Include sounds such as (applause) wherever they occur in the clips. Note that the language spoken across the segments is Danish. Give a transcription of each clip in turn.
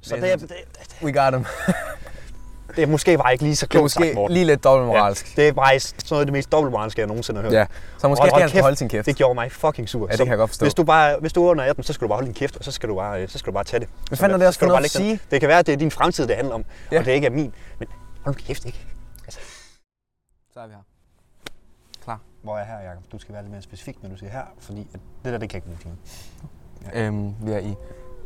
Så Men- det, er- det, det, We got him. det, er måske var ikke lige så Det er klogt sagt, måske Morten. lige lidt dobbeltmoralsk. Det er faktisk sådan noget af det mest dobbeltmoralske, jeg nogensinde har hørt. Ja. Så måske Hold- skal hold han kæft, holde sin kæft. Det gjorde mig fucking sur. Ja, det Så kan jeg godt forstå. Hvis du, bare, hvis du er under 18, så skal du bare holde din kæft, og så skal du bare, øh, så skal du bare tage det. Hvad fanden er det også for noget at sige? Det kan være, at det er din fremtid, det handler om, Ja. og det ikke er min. Men hold nu kæft, ikke? Så er vi her. Hvor er jeg her, Jacob? Du skal være lidt mere specifik, når du siger her, fordi at det der, det kan jeg ikke bruge Øhm, vi er i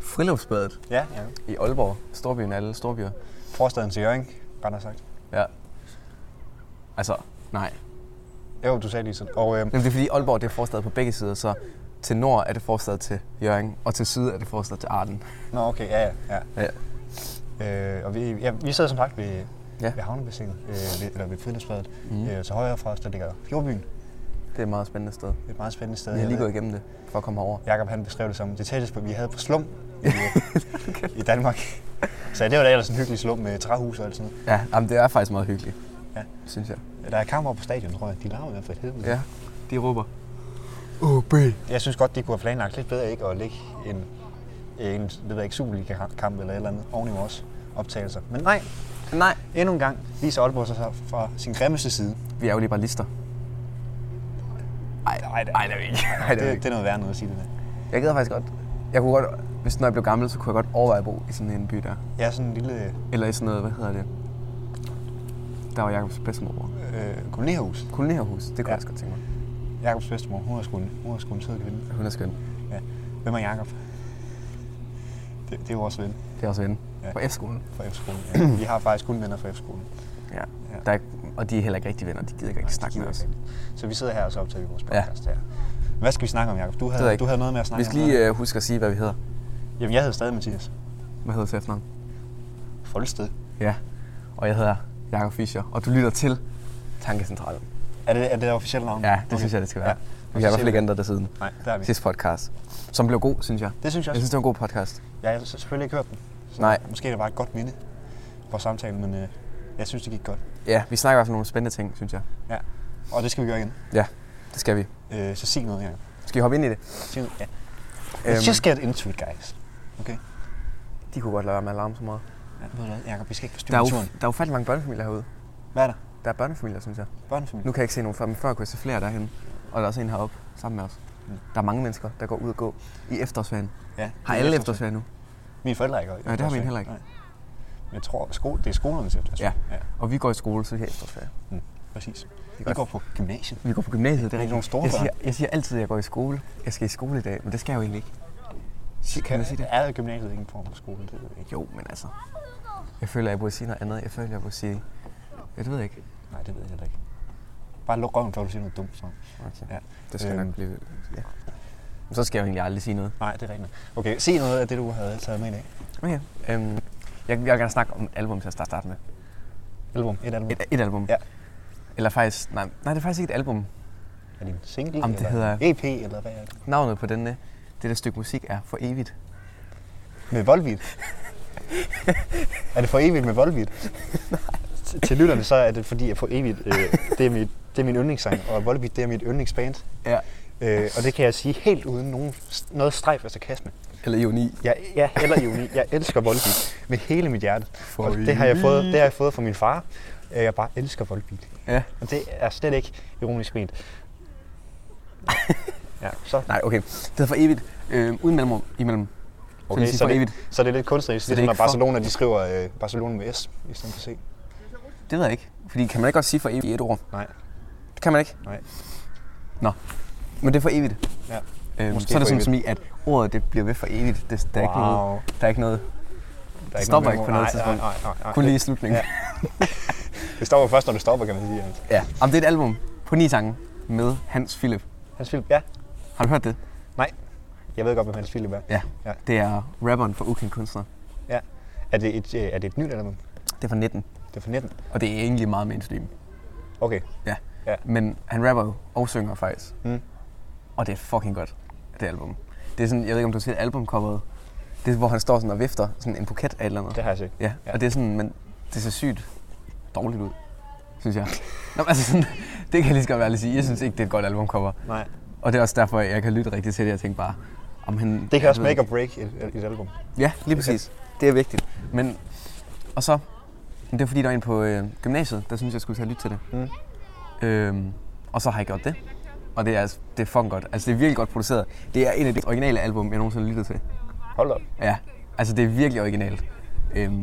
Friluftsbadet Ja, Jacob. i Aalborg. Storbyen af alle storbyer. Forstaden til Jørgen, ret har sagt. Altså, nej. Jo, du sagde lige sådan. Og øh, Jamen, det er fordi Aalborg det er forstad på begge sider, så til nord er det forstad til Jørgen, og til syd er det forstad til Arden. Nå, okay, ja, ja. ja. ja. Øh, og vi, ja, vi sidder som sagt ved, Ja. ja. ved havnebassinet, øh, ved, eller ved friluftsbadet. Mm. Mm. Øh, til højre for os, der ligger Fjordbyen. Det er et meget spændende sted. Et meget spændende sted. Vi har Jeg lige ved- gået igennem det for at komme herover. Jakob han beskrev det som det tætteste, på, vi havde på slum i, øh, i Danmark. Så det var da ellers en hyggelig slum med træhus og alt sådan noget. Ja, jamen, det er faktisk meget hyggeligt. Ja. Synes jeg. Der er kammer på stadion, tror jeg. De larmer i hvert fald helvede. Ja. De råber. Jeg synes godt, de kunne have planlagt lidt bedre ikke at lægge en, en det ved jeg ikke, Superliga-kamp eller et eller andet oven i vores optagelser. Men nej, Nej. endnu en gang viser Aalborg sig så fra sin grimmeste side. Vi er jo lige bare lister. Nej, nej, nej, det er vi ikke. (laughs) Det, Nej, det er vi det, ikke. er noget værre noget at sige det der. Jeg gider faktisk godt. Jeg kunne godt, hvis når jeg blev gammel, så kunne jeg godt overveje at bo i sådan en by der. Jeg er sådan en lille Eller i sådan noget, hvad hedder det? Der var Jacobs bedstemor. bor. øh, kolonierhus. Kolonierhus, det kunne Ja. ja. jeg også godt tænke mig. Jakobs bedstemor, hun er sgu en, hun er sgu en sød kvinde. Hun er skøn. Ja. Hvem er Jakob? Det, det er vores ven. Det er også ven. Ja. Ja. På F-skolen. fra F-skolen. Ja. Vi har faktisk kun venner fra F-skolen. Ja. Ja. Der er, ikke- og de er heller ikke rigtig venner. De gider ikke rigtig snakke med os. Så vi sidder her, og så optager vi vores Ja. podcast ja. her. Hvad skal vi snakke om, Jacob? Du ved jeg havde, ikke. du havde noget med at snakke Vi skal om. lige øh, huske at sige, hvad vi hedder. øh... Jamen, jeg hedder stadig Mathias. Hvad hedder til efternavn? Foldsted. Ja. Og jeg hedder Jakob Fischer. Og du lytter til Tankecentralen. Er det er det, det officielle navn? Ja, det okay. synes jeg, det skal være. Ja. Vi har i hvert fald ikke ændret det siden. Nej, der er vi. Sidste podcast. Som blev god, synes jeg. Det synes jeg Jeg også. synes, det var en god podcast. Jeg har selvfølgelig ikke hørt den. Så Nej. Måske er det bare et godt minde for samtalen, men øh, jeg synes, det gik godt. Ja, vi snakker i hvert fald nogle spændende ting, synes jeg. Ja. Og det skal vi gøre igen. Ja, det skal vi. Øh, så sig noget, Jacob. Skal vi hoppe ind i det? Øhm, Sig noget. Ja. Let's just get into it, guys. Okay? de kunne godt lade være med at larme så meget. Ja, ved du hvad, Jacob, vi skal ikke Der er, forstyrre jo, turen. der er jo fandme mange børnefamilier herude. Hvad er der? Der er børnefamilier, synes jeg. Børnefamilie? Nu kan jeg ikke se nogen før, men før kunne jeg se flere derhen. Og der er også en heroppe sammen med os. Mm. Der er mange mennesker, der går ud og går i efterårsferien. Ja, Har alle efterårsferie nu? Mine forældre har ikke gået i Nej, det har mine efterårsferie. heller ikke. Nej. Men jeg tror, at sko- det er skolernes efterårsferie. Ja. ja. Og vi går i skole, så vi har efterårsferie. Mm. Præcis. Vi godt. går på gymnasiet. Vi går på gymnasiet, det er Vi er nogle rigtigt. store Jeg siger, børn. jeg siger altid, at jeg går i skole. Jeg skal i skole i dag, men det skal jeg jo egentlig ikke. Sig- Kan man sige det? Er gymnasiet ikke en form for skole? Det ved jeg ikke. Jo, men altså. Jeg føler, at jeg burde sige noget andet. Jeg føler, at jeg burde sige... Ja, det ved jeg ikke. Nej, det ved jeg heller ikke. Bare luk røven, før du siger noget dumt. Så. Okay. Ja. Det skal Øhm. nok blive... Ja. Men så skal jeg jo egentlig aldrig sige noget. Nej, det er rigtigt. nok. Okay, se noget af det, du havde taget med i dag. Okay. Øhm, jeg, jeg vil gerne snakke om et album til at starte starte med. Album. Et album. Et, et album. Ja. Eller faktisk, nej, nej, det er faktisk ikke et album. Er det en single? Jamen, det eller hedder- EP, eller hvad er det? Navnet på denne, det der stykke musik er For Evigt. Med Volbeat. er det for evigt med Volbeat? Til- Til lytterne så er det fordi, at for evigt, øh, det, er mit, det er min yndlingssang, og Volbeat det er mit yndlingsband. Ja. Øh, og det kan jeg sige helt uden nogen, noget strejf af sarkasme. Eller ironi. Jeg, jeg heller ironi. Jeg elsker Volbeat med hele mit hjerte. For Og det har jeg fået, det har jeg fået fra min far. Øh, Jeg bare elsker Volbeat. Ja. Og det er slet ikke ironisk ment. Ja, så, Nej, okay. Det hedder For Evigt. Øh, uden mellemrum imellem. Okay, så, så, for det, evigt. så det er lidt kunstnerisk, Så det er ligesom når ikke for- Barcelona de skriver øh, Barcelona med S, i stedet for C. Det ved jeg ikke. Fordi kan man ikke godt sige for evigt i et ord? Nej, Det kan man ikke. nej. Men det er for evigt. Ja. Øhm, Måske så er for det sådan evigt. som i, at ordet det bliver ved for evigt. Det, der, er ikke Wow. noget, der er ikke noget. Der er stopper noget ikke mellemrum. på noget Nej, tidspunkt. Nej, nej, nej, Kun lige i nej. slutningen. Ja. Det stopper først, når det stopper, kan man sige. ja. Jamen, det er et album på ni sange med Hans Philip. Hans Philip, ja. Har du hørt det? Nej. Jeg ved godt, hvem Hans Philip er. Ja. Ja. Det er rapperen for Ukendt Kunstner. ja. Er, det et, øh, er det et nyt album? Det er fra 19. Det er fra 19. Og det er egentlig meget mainstream. Okay, Ja. Ja. Men han rapper jo og synger faktisk. Mm. Og det er fucking godt, det album. Det er sådan, jeg ved ikke om du har set albumcoveret. Det er, hvor han står sådan og vifter sådan en buket af et eller andet. det har jeg set. Ja, Ja. og det er sådan, men det ser sygt dårligt ud, synes jeg. Nå, men altså sådan, (laughs) det kan jeg lige så godt være ærlig sige. Jeg synes ikke, det er et godt albumcover. Nej. Og det er også derfor, jeg kan lytte rigtig til det. Jeg tænker bare, om han... Det kan jeg også make ved ikke. or break et, et album. Ja, lige præcis. Det er vigtigt. Men, og så, men det er fordi, der var en på øh, gymnasiet, der synes jeg skulle tage lytte til det. Mm. Øhm, og så har jeg gjort det. Og det er, altså, det er fucking godt. Altså, det er virkelig godt produceret. Det er en af de originale album, jeg nogensinde har lyttet til. Hold op. Ja, altså det er virkelig originalt. Øhm,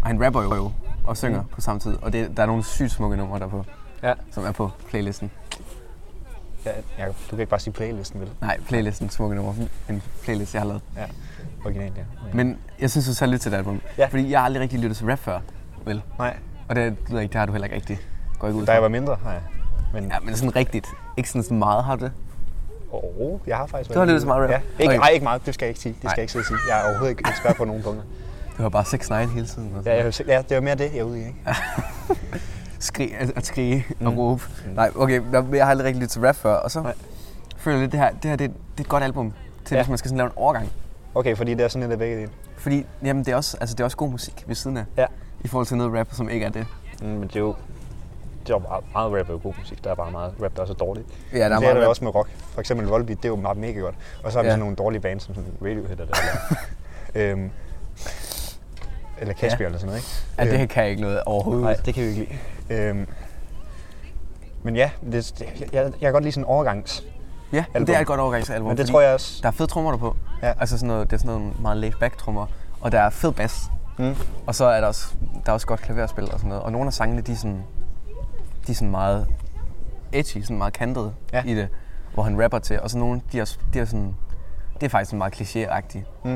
og han rapper jo og synger mm. på samme tid. Og det, der er nogle sygt smukke numre derpå, Ja. som er på playlisten. ja Jacob, du kan ikke bare sige playlisten, vel? Nej, playlisten smukke numre. En playlist, jeg har lavet. Ja. Originalt, ja. Men jeg synes, du skal lytte til det album. Ja. Fordi jeg har aldrig rigtig lyttet til rap før, vel? Nej, Og det, det, ved jeg ikke, det har du heller ikke rigtigt. Går ikke ud da jeg fra. var mindre, nej. Men ja. Ja, men sådan rigtigt. Ikke sådan så meget har du det. oh, jeg har faktisk Du har lyttet så meget rap. Ja. Ikke, Okay. Nej, ikke meget. Det skal jeg ikke sige. Det skal Nej. jeg ikke sidde og sige. Jeg er overhovedet ikke ekspert på nogen punkter. Du hører bare 6 9 hele tiden. Og Ja, jeg, ja, det var mere det, jeg er ude i, ikke? skrig, at, at skrige mm. og råbe. Mm. Nej, okay, nå, men jeg har aldrig rigtig lyttet til rap før, og så Nej. Nej. føler jeg lidt, det her, det her det, det er et godt album til, ja. Ja. hvis man skal sådan lave en overgang. Okay, fordi det er sådan lidt af begge dele. Fordi jamen, det, er også, altså, det er også god musik ved siden af, Ja. i forhold til noget rap, som ikke er det. Mm, men det er jo... Det er jo meget, meget rap er jo god musik. Der er bare meget rap, der også er dårligt. Ja, der er det meget er der rap. også med rock. For eksempel Volbeat, det er jo meget mega godt. Og så har vi Ja. sådan nogle dårlige bands, som sådan Radiohead eller... eller, (laughs) øhm, eller Casper Ja. ja. eller sådan noget, ikke? Ja, det Øhm, her kan jeg ikke noget overhovedet. Nej, det kan vi ikke lide. Øhm, men ja, det, det- jeg, jeg, jeg kan godt lide sådan en overgangs. Ja, men Album. det er et godt overgangsalbum. Men det fordi tror jeg også- Der er fede trommer der på. Ja. Altså sådan noget, det er sådan nogle meget laid back trommer. Og der er fed bas. Mm. Og så er der også, der er også godt klaverspil og sådan noget. Og nogle af sangene, de er sådan, de er sådan meget edgy, sådan meget kantede Ja. i det. Hvor han rapper til. Og så nogle, de er, også- de er sådan, det er faktisk sådan meget kliché-agtigt. Mm.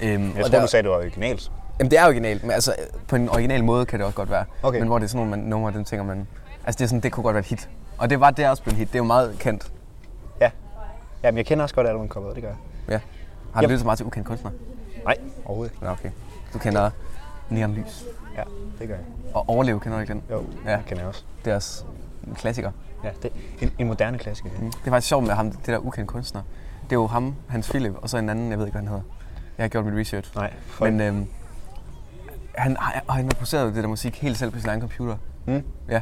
Øhm, og Jeg tror, der- du sagde, det var originalt. Jamen, det er originalt, men altså, på en original måde kan det også godt være. Okay. Men hvor det er sådan nogle man, numre, dem tænker man... Altså, det, er sådan, det kunne godt være et hit. Og det var det er også blevet et hit. Det er jo meget kendt. Ja. Jamen, jeg kender også godt album coveret, det gør jeg. Ja. Har du Yep. lyttet så meget til ukendte kunstnere? Nej, overhovedet ikke. Nå, okay. Du kender Neon Lys. Ja, det gør jeg. Og Overleve, kender du ikke den? Jo, Ja. ja. det kender jeg også. Det er også en klassiker. Ja, det en, en moderne klassiker. Mm. Det er faktisk sjovt med ham, det der ukendte kunstner. Det er jo ham, Hans Philip, og så en anden, jeg ved ikke, hvad han hedder. Jeg har gjort mit research. Nej, for Men øhm, han, og han har produceret det der musik helt selv på sin egen computer. Mm. Ja.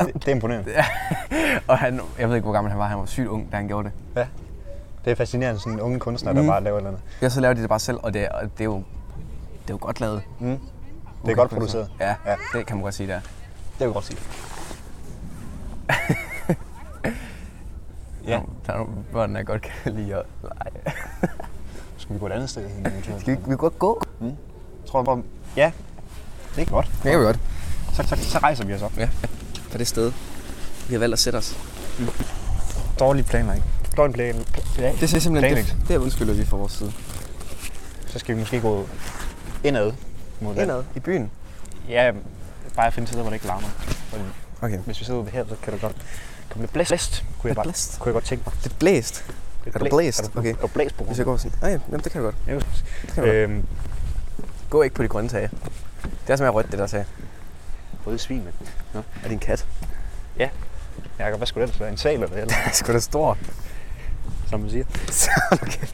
det, det er imponerende. Og han, jeg ved ikke, hvor gammel han var. Han var sygt ung, da han gjorde det. Ja. Det er fascinerende, sådan unge kunstnere, der mm. bare laver et eller andet. Ja, så laver de det bare selv, og det er, og det er jo, det er jo godt lavet. Det Det er godt produceret. Ja, ja, Ja. det kan man godt sige, der. Det vil jeg godt sige. Ja. Der er nogle børn, der godt kan lide at lege. Skal vi gå et andet sted? hen, eventuelt? Skal vi, vi kan godt gå? Tror du bare... Ja. Det er godt. Det kan vi godt. Så, så, så rejser vi os op. Ja, på det sted, vi har valgt at sætte os. Dårlig planer, ikke? Dårlig plan. Ja. Det er simpelthen, det, Planlægt. det undskylder vi fra vores side. Så skal vi måske gå indad. Mod land. Indad, i byen. Ja, bare at finde steder, hvor det ikke larmer. Fordi Okay. Hvis vi sidder ude her, så kan det godt komme lidt blæst. blæst kunne, jeg Lidt bare, blæst? kunne jeg godt tænke mig. Det er blæst. Lidt Er du blæst? Er du, Okay. er du blæst på Hvis jeg går og siger, nej, jamen, det kan du godt. kan jeg øhm, Gå ikke på de grønne tage. Det er som jeg rødt, det der tage. røde svin, mand. Er det en kat? Jakob, hvad skulle det ellers være? En sal eller eller, (laughs) Det er sgu da stor. som man siger. okay.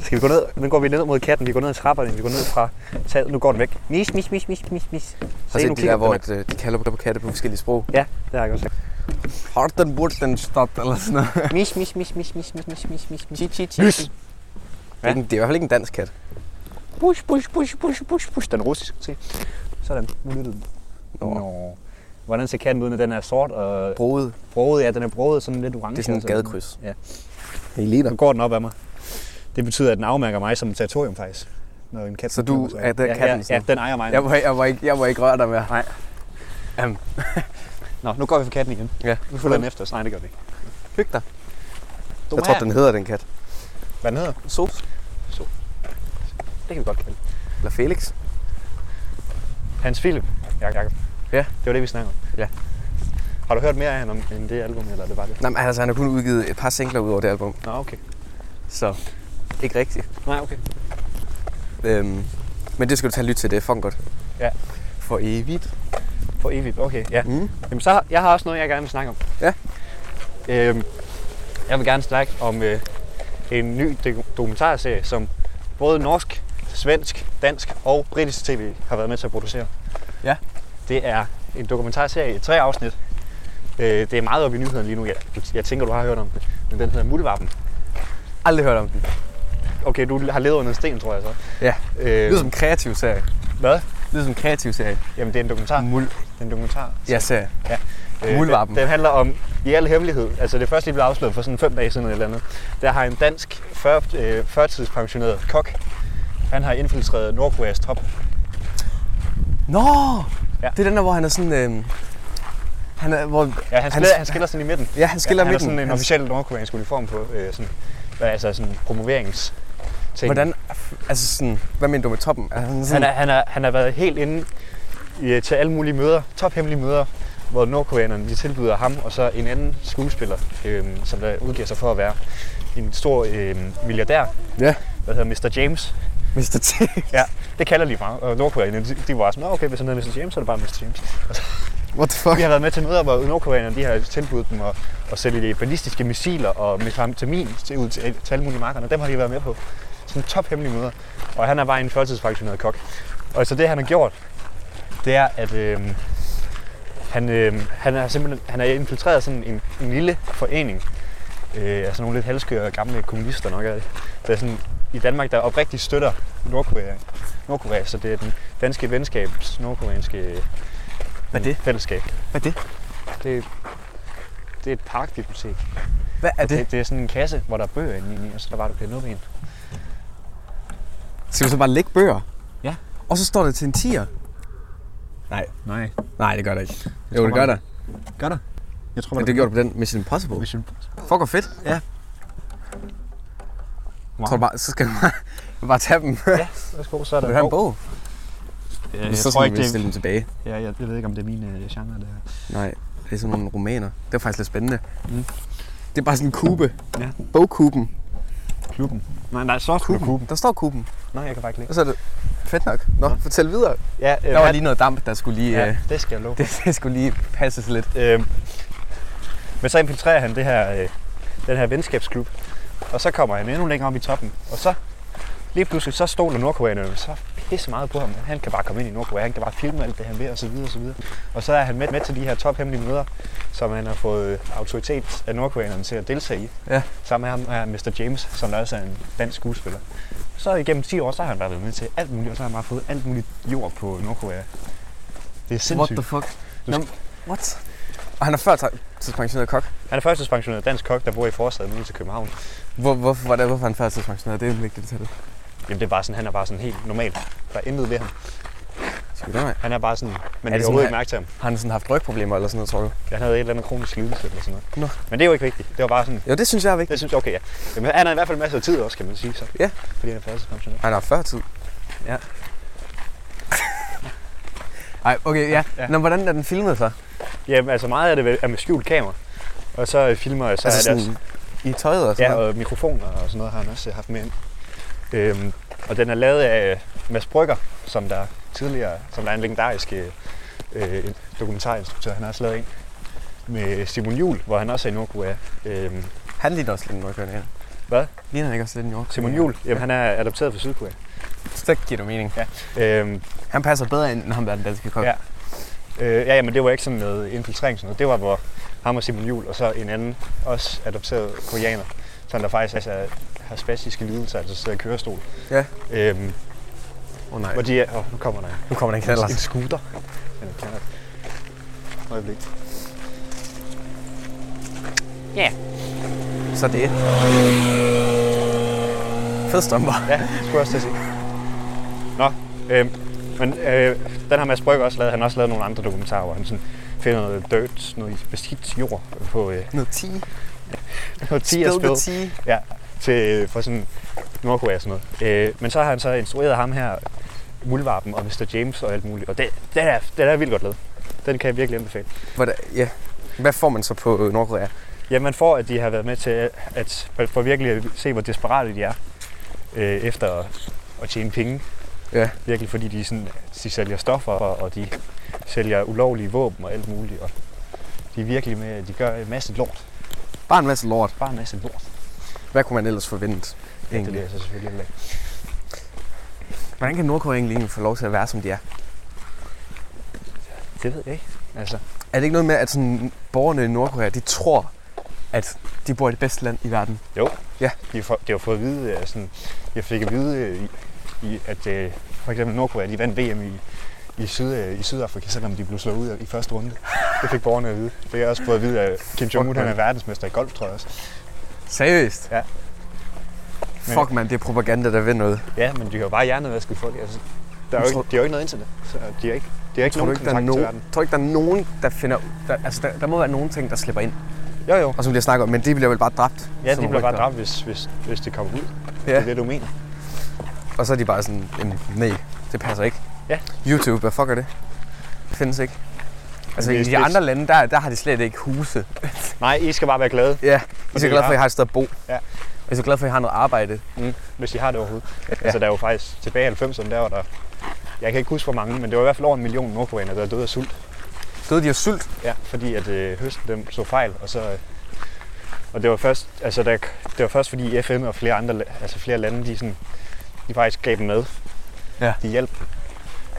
Skal vi gå ned? Nu går vi ned mod katten. Vi går ned ad trapperne. Vi går ned fra taget. Nu går den væk. Mis, mis, mis, mis, mis, mis. Se, Og så nu de der, kigger den. hvor at, øh, de kalder på katte på forskellige sprog. Ja, det har jeg godt sagt. Horten, burten, stot, eller sådan noget. Mis, mis, mis, mis, mis, mis, mis, mis, mis, mis. Chi, chi, chi. Lys. Det er ikke en- det er i hvert fald ikke en dansk kat. Push, push, push, push, push, push. Den er russisk, se. Sådan, nu lyttede den. Nå. Nå. Hvordan ser katten ud, når den er sort og Broet. broet? Ja, den er broet sådan lidt orange. Det er sådan en altså. gadekryds. Ja. I ligner. Så går den op af mig. Det betyder, at den afmærker mig som et territorium, faktisk. Når en kat Så du kommer, er den ja, katten, Ja, ja, sådan? den ejer mig. Jeg må, jeg må ikke, jeg må ikke røre dig mere. Nej. Um, Nå, nu går vi for katten igen. ja. Nu følger den efter os. Nej, det gør vi ikke. Hyg dig. Du Jeg tror, den hedder den kat. Hvad den hedder? Sof. Det kan vi godt kalde. Eller Felix. Hans Philip. Jak Jakob. Ja. Det var det, vi snakkede om. Ja. Har du hørt mere af ham om- end det album, eller er det bare det? Nej, men altså, han har kun udgivet et par singler ud over det album. Nå, okay. Så ikke rigtigt. Nej, okay. Øhm, men det skal du tage og lytte til, det er fucking godt. Ja. For evigt. For evigt. Okay, ja. Mm. Jamen, så har, jeg har også noget, jeg gerne vil snakke om. Ja. Øhm, jeg vil gerne snakke om øh, en ny do- dokumentarserie, som både norsk, svensk, dansk og britisk tv har været med til at producere. Ja. Det er en dokumentarserie i tre afsnit. Øh, det er meget oppe i nyhederne lige nu. Jeg, jeg tænker, du har hørt om det. Men den hedder Muldvarpen. Aldrig hørt om den. Okay, du har levet under en sten, tror jeg så. Ja. Det Øh, lyder som en kreativ serie. hvad? Det lyder som en kreativ serie. Jamen, det er en dokumentar. Mul. Det er en dokumentar. Ja, serie. Øh, Muldvarpen. Den, den handler om, i al hemmelighed, altså det første, lige blev afsløret for sådan fem dage siden eller et eller andet, der har en dansk før, øh, førtidspensioneret kok, han har infiltreret Nordkoreas top. Nå! Ja. Ja. Det er den der, hvor han er sådan... Øh, han er, hvor, Ja, han Han- skiller, han, skiller sådan i midten. ja, han skiller ja, han har midten. sådan en Han- officiel nordkoreansk uniform på, øh, sådan, hvad, altså sådan promoverings ting. Hvordan, altså sådan, hvad mener du med toppen? Er han Han, sådan, er, han, er, han har været helt inde i, øh, til alle mulige møder, tophemmelige møder, hvor nordkoreanerne de tilbyder ham og så en anden skuespiller, øh, som der udgiver sig for at være en stor øh, milliardær, Ja. der hedder Mr. James. Mr. T. (laughs) Ja, det kalder de bare. Og Nordkoreanerne, de, de var bare sådan, "Nå, okay, hvis han hedder Mr. James, så er det bare Mr. James. What the fuck? Vi har været med til møder, hvor Nordkoreanerne de har tilbudt dem at, at sælge de ballistiske missiler og metamfetamin til, ud til, til alle mulige markerne. Dem har de været med på. Sådan tophemmelige møder. Og han er bare en førtidsfraktioneret kok. Og så det, han har gjort, det er, at øh, han, øh, han, har simpelthen, han har infiltreret sådan en, en lille forening. Øh, altså nogle lidt halskøre gamle kommunister nok er det. Der er sådan, i Danmark, der oprigtigt støtter Nordkorea. Nordkorea, så det er den danske venskabs nordkoreanske øh, Hvad er det? fællesskab. Hvad er det? Det, det er et parkbibliotek. Hvad er det? Det, det er sådan en kasse, hvor der er bøger inde i, og så der bare, du kan nå en. Skal vi så bare lægge bøger? Ja. Og så står det til en 10'er? Nej. Nej. Nej, det gør det ikke. tror Jo, det gør bare- der. Gør der? Jeg tror, Men det gjorde du på den Mission Impossible. Mission Fuck, hvor fedt. Ja. Wow. Så, bare, så skal du bare, bare tage dem. Ja, værsgo, så er der Vil du have en bog? Jeg, Jeg jeg, så tror skal ikke, vi det er, stille dem tilbage. ja, jeg, jeg ved ikke, om det er min øh, genre, det her. Nej, det er sådan nogle romaner. Det var faktisk lidt spændende. Mm. Mm. Det er bare sådan en kube. Ja. Bogkuben. Klubben. Nej, nej, så klubben. Der står kuben. Nej, jeg kan faktisk ikke. Og så er det fedt nok. Nå, ja. fortæl videre. Ja, øh, Der var han- lige noget damp, der skulle lige... ja, Ja. Øh, (laughs) det skal jeg love. det, det skulle lige passes lidt. Øh, men så infiltrerer han det her, øh, den her venskabsklub, og så kommer han endnu længere op i toppen, og så lige pludselig så stoler nordkoreanerne så pisse meget på ham. Han kan bare komme ind i Nordkorea, han kan bare filme alt det, han vil, og så videre, og så videre. Og så er han med, med til de her tophemmelige møder, som han har fået øh, autoritet af nordkoreanerne til at deltage i. Ja. Sammen med ham er Mr. James, som der også er en dansk skuespiller. Så igennem 10 år, så har han bare været med til alt muligt, og så har han bare fået alt muligt jord på Nordkorea. Det er What sindssygt. the fuck? Du Nå, what? Og han er før tidspensioneret kok. Han er førstidspensioneret dansk kok, der bor i forstaden ude til København. Hvor, hvorfor, var det, hvorfor er han før tidspensioneret? Det er en vigtig detalje. Jamen det er bare sådan, han er bare sådan helt normal. Der er intet ved ham. Skal vi da, mand? Han er bare sådan, men er Er det det sådan, overhovedet han- ikke mærke til ham. Har han sådan haft rygproblemer eller sådan noget, tror du? Han havde et eller andet kronisk lidelse eller sådan noget. Nå. Men det er jo ikke vigtigt. Det var bare sådan, Jo, det synes jeg er vigtigt. det synes jeg, okay ja. Jamen, han har i hvert fald masser af tid også, kan man sige så. Ja. Fordi han er førstidspensioneret. Han har før tid. Ja. (laughs) Ej, okay, ja. Ja. ja. Nå, hvordan er den filmet så? Jamen altså meget af det vel- er med skjult kamera. Og så øh, filmer jeg, så altså altså er det sådan også, i tøjet og sådan ja, noget? og mikrofoner og sådan noget har han også øh, haft med ind. Øhm, og den er lavet af øh, Mads Brygger, som der tidligere, som der er en legendarisk øh, øh, en dokumentarinstruktør. Han har også lavet en med Simon Jul, hvor han også er i Nordkorea. Øhm, Han ligner også lidt en nordkoreaner. Hvad? Ligner han ikke også lidt en nordkoreaner? Simon Jul, jamen han er adopteret fra Sydkorea. Så giver det mening. Øhm, Han passer bedre ind, når han er den danske kok. Ja. øh, ja, ja, men det var ikke sådan noget infiltrering, sådan noget. det var hvor ham og Simon Jul, og så en anden, også adopteret koreaner, som der faktisk altså, har spastiske lidelser, altså sidder i kørestol. Ja. Øhm, Åh oh, nej, hvor de er, åh, nu kommer der en, nu kommer den knaller. en scooter. Eller en knallert. Øjeblik. Så det. Fed stomper. Ja, skulle jeg også til at sige. Nå, øh, men øh, den har Mads Brygger også lavet. Han har også lavet nogle andre dokumentarer, hvor han sådan finder noget dirt, noget beskidt jord på, (laughs) øh, Noget 10. på 10 af spil. 10. Ja, til, øh, for sådan Nordkorea og sådan noget. Øh, men så har han så instrueret ham her, Muldvarpen og Mr. James og alt muligt. Og det, det, er, det er vildt godt lavet. Den kan jeg virkelig anbefale. Hvordan, ja. Hvad får man så på øh, Nordkorea? Ja, man får, at de har været med til at, at for virkelig at se, hvor desperate de er øh, efter at, at tjene penge. Ja. Virkelig, fordi de, sådan, de sælger stoffer, og, og de sælger ulovlige våben og alt muligt. Og de er virkelig med, at de gør en masse lort. Bare en masse lort. Bare en masse lort. Hvad kunne man ellers forvente? Det Egentlig? læser jeg selvfølgelig heller ikke. Hvordan kan Nordkorea egentlig egentlig få lov til at være, som de er? Det ved jeg ikke. Altså, Er det ikke noget med, at sådan, borgerne i Nordkorea, de tror, at de bor i det bedste land i verden. Jo. Ja. De, får, de har fået at vide, øh, sådan, jeg fik at vide, øh, i, i, at øh, for eksempel Nordkorea, de vandt VM i, i, Syd, øh, i Sydafrika, selvom de blev slået ud af- i første runde. Det fik borgerne at vide. Det har jeg også fået at vide, at Kim Jong-un han er verdensmester i golf, tror jeg også. Seriøst? Ja. Fuck mand, det er propaganda, der ved noget. Ja, men de har jo bare hjernevasket folk. Altså, der er jo Men ikke, tror- de har jo ikke noget internet, så de har ikke, de har ikke Tror du nogen ikke, der er kontakt til nogen, verden. tror du ikke, der er nogen, der finder... Der, altså, der, der, må være nogen ting, der slipper ind, Jo, jo. og som bliver snakket om, men de bliver vel bare dræbt? Ja, som de bliver bare rygter. dræbt, hvis, hvis, hvis det kommer ud. Ja. Det Ja. er det, du mener. Og så er de bare sådan, "Jamen, nej, det passer ikke. Ja. YouTube, hvad fuck er det? Det findes ikke. Altså det er- i det de er- andre lande, der, der har de slet ikke huse. Nej, I skal bare være glade, Ja, I er så det glade er- for, at I har et sted at bo. Ja. Og I er så glade for, at I har noget arbejde. hvis I har det overhovedet. Ja. Altså, der er jo faktisk tilbage i 90'erne, der var der... Jeg kan ikke huske, hvor mange, men det var i hvert fald over en million nordkoreanere, der døde af sult. Døde de af sult? Ja, fordi at øh, høsten dem så fejl, og så... Øh, og det var først, altså der, det var først fordi FN og flere andre, la- altså flere lande, de, sådan, de faktisk gav dem med. Ja. De hjalp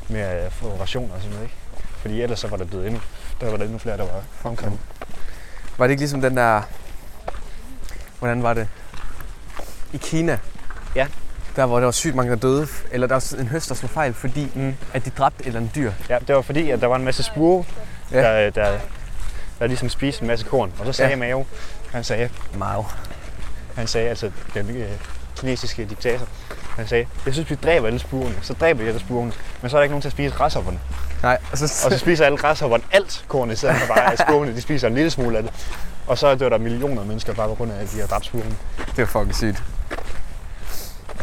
med at få rationer og sådan noget, ikke? Fordi ellers så var der døde endnu. Der var der endnu flere, der var omkommet. Var det ikke ligesom den der... Hvordan var det? I Kina. Ja. Der, hvor der var sygt mange, der døde. Eller der var en høst, der slog fejl, fordi Mm. at de dræbte et eller andet dyr. Ja, det var fordi, at der var en masse spure, Ja. ja. der, øh, der, der ligesom spiste en masse korn. Og så sagde Ja. ja. Mao, han sagde, Mao. han sagde altså den øh, kinesiske diktator, han sagde, jeg synes, vi dræber alle spurene, så dræber vi alle spurene, men så er der ikke nogen til at spise græshopperne. Nej, og så, Og så spiser alle græshopperne alt kornet, så er bare at spurene, de spiser en lille smule af det. Og så dør der millioner af mennesker bare på grund af, at de har dræbt spurene. det var fucking sygt. Ja.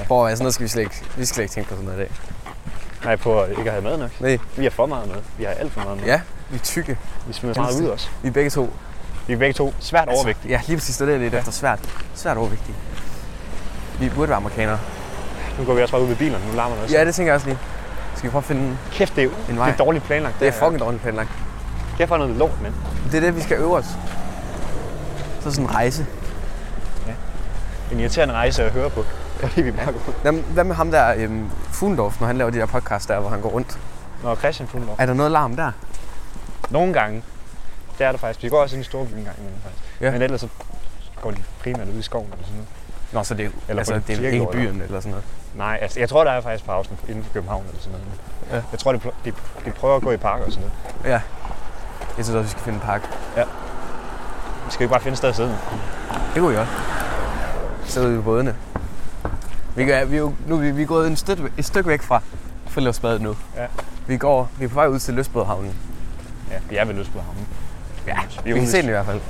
Ja. Borg, sådan noget skal vi slet ikke, vi skal slet ikke tænke på sådan noget i dag. Nej, på at ikke at have mad nok. Nej. Vi har for meget mad. Vi har alt for meget mad. Ja, vi er tykke. Vi smider meget ud også. Vi er begge to. Vi er begge to svært overvægtige. Altså, ja, lige præcis. Det er det, jeg lidt ja. efter svært. Svært overvægtige. Vi burde være amerikanere. Nu går vi også bare ud ved bilerne, nu larmer det også. Ja, det tænker jeg også lige. Skal vi prøve at finde... Kæft, det er, En en vej. det er dårligt planlagt. Det er her. fucking dårligt planlagt. Kæft, for noget lort, mand. Det er det, vi skal øve os. Så sådan en rejse. En irriterende rejse at høre på. Fordi vi bare går. Jamen, Hvad med ham der, øhm, Fuglendorf, når han laver de der podcast der, hvor han går rundt? Nå, Christian Fuglendorf. Er der noget larm der? Nogle gange, det er der faktisk. Vi går også ind i store byen en gang imellem, faktisk. Ja. Men ellers så går de primært ud i skoven eller sådan noget. Nå, så det er, Eller altså, på en det er kirkegård, ikke i eller- byen eller sådan noget. Nej, altså, jeg tror, der er faktisk pausen inden for København eller sådan noget. Ja. Ja. Jeg tror, de, pl- de, de, prøver at gå i parker og sådan noget. Jeg synes også, vi skal finde en park. Vi skal jo bare finde et sted at sidde. nu. Det kunne vi godt. Så ude i bådene. Vi, gør, vi, er jo, nu er vi, vi er gået en stykke, et stykke væk fra friluftsbadet nu. Ja. Vi, går, vi er på vej ud til Løsbådhavnen. Ja, vi er ved lyst på ham. Ja, vi vi, er kan ude se i- den i hvert fald.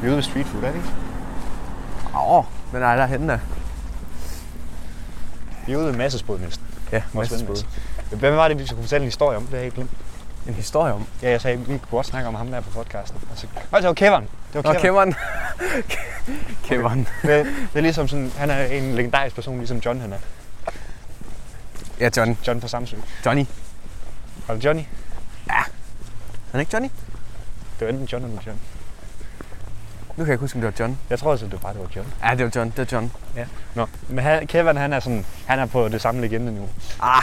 Vi er ude ved street food, er det ikke? Åh, oh, den er derhenne der. Vi er ude ved Massesbrød næsten. Ja, Vores ven Madsens Mads. Hvem var det, vi skulle fortælle en historie om? Det har jeg helt glemt. Båd. En historie om. Ja, jeg sagde, vi kunne godt snakke om ham der på podcasten. Og så, Nå, det var Kevin. Det Nå, var Kevin. Kæmmeren. (laughs) Kæmmeren. Det, det, er ligesom sådan, han er en legendarisk person, ligesom John han er. Ja, John. John fra Samsø. Johnny. Var det Johnny? Er han ikke Johnny? Det var enten John eller John. Nu kan jeg ikke huske, om det var John. Jeg tror altså, det var bare, det var John. Ja, det var John. Det var John. Nå, men han, Kevin, han er sådan, han er på det samme legende nu. Ah,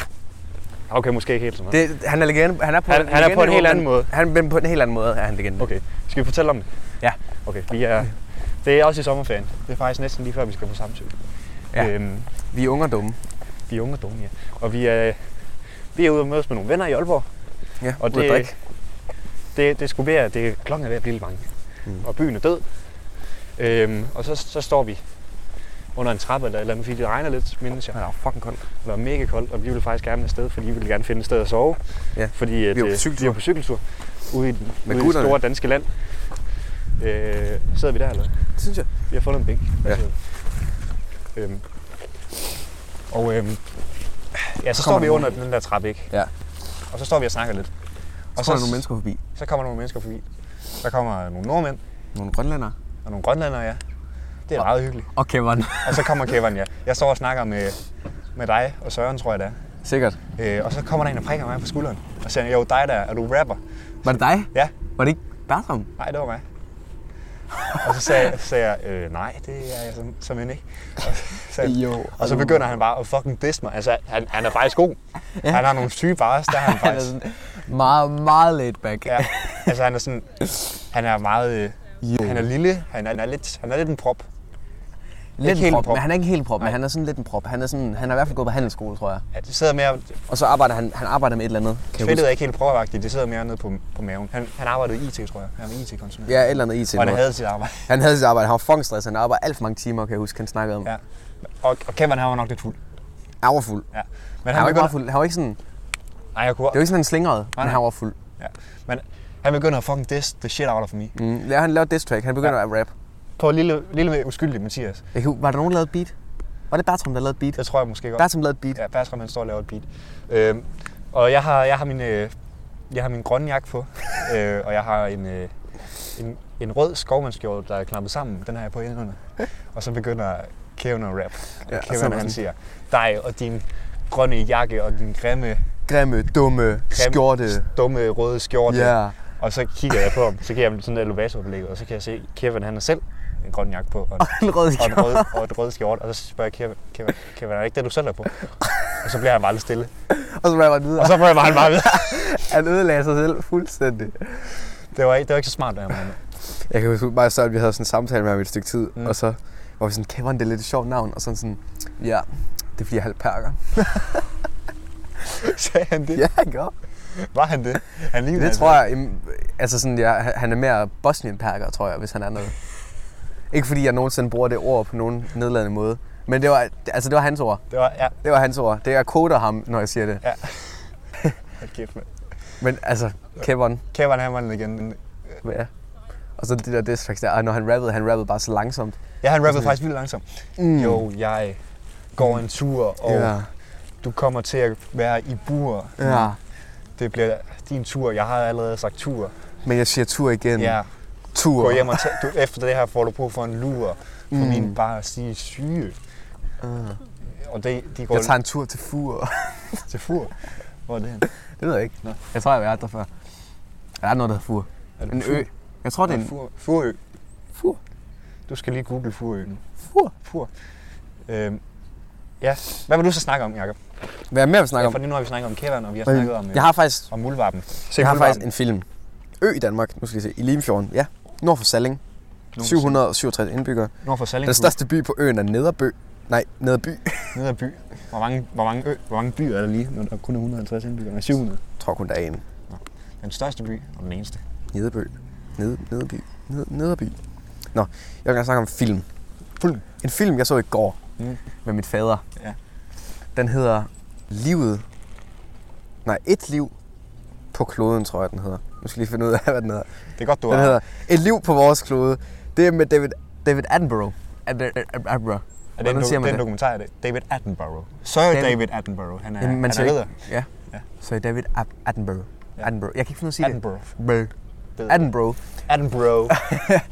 Okay, måske ikke helt så meget. det, han er legende. Han er på, Han- en han er på en legendeniveau, helt anden men- måde. Han, men på en helt anden måde er han legende. Okay, skal vi fortælle om det? Ja. Okay, vi er, det er også i sommerferien. Det er faktisk næsten lige før, vi skal på Samsø. Ja. Øhm, Vi er unge og dumme. vi er unge og dumme, ja. Og vi er, vi er ude og mødes med nogle venner i Aalborg. Ja, Og og det, det- drikke. Det, det skulle være, det klokken er ved at blive lidt mange. Mm. Mm. Og byen er død. Øhm, og så, så står vi under en trappe eller et eller andet, fordi det regner lidt, mindes jeg. Han er fucking kold. Det var mega koldt, og vi ville faktisk gerne afsted, fordi vi ville gerne finde et sted at sove. Ja, Fordi at, vi var på øh, cykeltur. Vi var på cykeltur ude i, den, ude Med i det gutterne. store danske land. Øh, sidder vi der eller hvad? Det synes jeg. Vi har fundet en bænk. Ja. Altså, Øhm, og øhm, ja, så kommer står vi der under den der trappe, ikke? Ja. Og så står vi og snakker lidt. Og så, er der nogle mennesker forbi. så kommer der nogle mennesker forbi. Der kommer nogle nordmænd Nogle grønlændere. og nogle grønlandere, ja. Det er meget hyggeligt. Og Kæmmeren. Og så kommer Kevin, ja. Jeg står og snakker med, med dig og Søren, tror jeg det er. Sikkert. Øh, og så kommer der en og prikker mig på skulderen og siger, jo dig der, er du rapper? Var det dig? Ja, Var det ikke Bertram? nej det var mig. og så sagde, så sagde jeg, øh, nej, det er jeg som, som ikke. Og så, sagde, han- Jo. og så begynder han bare at fucking disse mig. Altså, han, han er faktisk god. Han har nogle syge bars, der er han (laughs) Han er faktisk. sådan meget, meget laid back. Ja, altså han er sådan, han er meget, øh, Jo. Han er lille, han er, han er, lidt, han er lidt en prop. lidt ikke helt en en prop, prop. men han er ikke helt prop, men Nej. han er sådan lidt en prop. Han er, sådan, han har i hvert fald gået på handelsskole, tror jeg. Ja, det sidder mere, Og så arbejder han, han arbejder med et eller andet. Kan jeg fedtet huske. er ikke helt propagtigt, det sidder mere nede på, på maven. Han, han arbejdede i IT, tror jeg. Han var IT-konsulent. Ja, et eller andet IT. og han noget. havde sit arbejde. han havde sit arbejde. Han var fucking stress. Han arbejdede alt for mange timer, kan jeg huske, han snakkede om. Ja. Ja. Og, og Kevin, han var nok lidt fuld. Han var fuld. Ja. Men Han var begynder- ikke meget fuld. Han var ikke sådan, Nej, jeg kunne... det var ikke sådan, han slingrede, men nej. han var fuld. Ja. Men han begynder at fucking diss the shit out of me. Mm. Ja, han lavede diss track. Han begynder ja. at rap. På lille, lille uskyldig Mathias. Jeg kan, hu- var der nogen, der lavede et beat? Var det Bertram, der lavede et beat? Det tror jeg måske godt. Bertram lavede et beat. Ja, Bertram han står og laver et beat. Øhm, og jeg har, jeg har min, øh, jeg har min grønne jakke (laughs) på, øh, og jeg har en, øh, en, en rød skovmandskjorte, der er klampet sammen. Den har jeg på indenunder. Og så begynder Kevin at rap. Og Ja, ja, og så er Kevin han man sådan- siger, dig og din grønne jakke og din grimme, Grimme, dumme, grimme skjorte. dumme røde skjorte. Ja. Og så kigger jeg på ham, så giver jeg ham sådan et elevatorblik, og så kan jeg se, Kevin han har selv en grøn jakke (laughs) på, og en, En (laughs) og rød en skjorte. rød, og et rød skjorte. Og så spørger jeg Kevin, Kevin, Kevin er det ikke det, du selv er på? Og så bliver han bare lidt stille. Og så rapper han videre. Og så rører han bare videre. Han ødelagde sig selv fuldstændig. Det var, ikke- det var ikke så smart, der her mand. Jeg kan huske bare så, at vi havde sådan en samtale med ham i et stykke tid, mm. og så var vi sådan, Kevin, det er lidt et sjovt navn, og sådan sådan, ja, det er fordi jeg er halv perker. (laughs) (laughs) Sagde han det? Ja. Ja, han gør. Var han det? Han lignede Det altså- tror jeg, im- altså sådan, ja, han- han er mere bosnienperker, tror jeg, hvis han er noget. Ikke fordi jeg nogensinde bruger det ord på nogen nedladende måde, men det var, altså det var hans ord. Det var, ja. Det var hans ord. Det er, jeg koder ham, når jeg siger det. ja. Hold kæft, mand. Men altså, Kevin, Kevin, han var den igen. ja. Og så det der diss tracks der, og når han rappede, han rappede bare så langsomt. Ja, han rappede faktisk vildt langsomt. Mm. Jo, jeg går en tur, og Ja. du kommer til at være i bur. Ja. Det bliver din tur. Jeg har allerede sagt tur. Men jeg siger tur igen. Ja. Tur. Gå hjem og tag, du, efter det her får du brug for en lur. For mm. min bare sige syge. Uh. Og det, de går Ah. Jeg tager en tur til Fur. til fur. Hvor er det henne? (laughs) Det ved jeg ikke. Nå. Jeg tror, jeg har været der før. Der er noget, der hedder Fur. Er det En Fur? ø. Jeg tror, det er en Fur, Furø. Fur. Du skal lige google Furø nu. Fur. Fur. Øhm, ja, hvad vil du så snakke om, Jacob? Hvad er mere, vi snakker Ja, om? for lige nu har vi snakket om kæveren, og vi har snakket om, øh, Jeg har faktisk, om muldvarpen. Se, jeg har faktisk en film. Ø i Danmark, nu skal jeg se, i Limfjorden. Ja, nord for Salling. 767 indbyggere. Nord for Salling, Den største by på øen er Nederbø. Nej, Nederby. Jeg nede af by. Hvor mange, hvor, mange ø, hvor mange byer er der lige, når der kun er 150 indbyggere? Nej, 700. tror kun, der er en. Den største by og den eneste. Nederbø. Ned, Nederby. Ned, Nederby. Nå, jeg vil gerne snakke om film. Film. En film, jeg så i går Mm. med mit fader. Ja. Den hedder Livet. Nej, Et liv på kloden, tror jeg, den hedder. Nu skal jeg lige finde ud af, hvad den hedder. Det er godt, du Den har. hedder Et liv på vores klode. Det er med David, David Attenborough. Atten- Attenborough. Er det en, Hvordan siger do- man den det? dokumentar, er det David Attenborough. Sir Den- David, David Attenborough. Han er, Jamen, han man er siger leder. ikke. Ja. Ja. Så David At- Attenborough. Ja. Attenborough. Jeg kan ikke finde ud af at sige Attenborough. det. Det ved Attenborough. Attenborough. (laughs)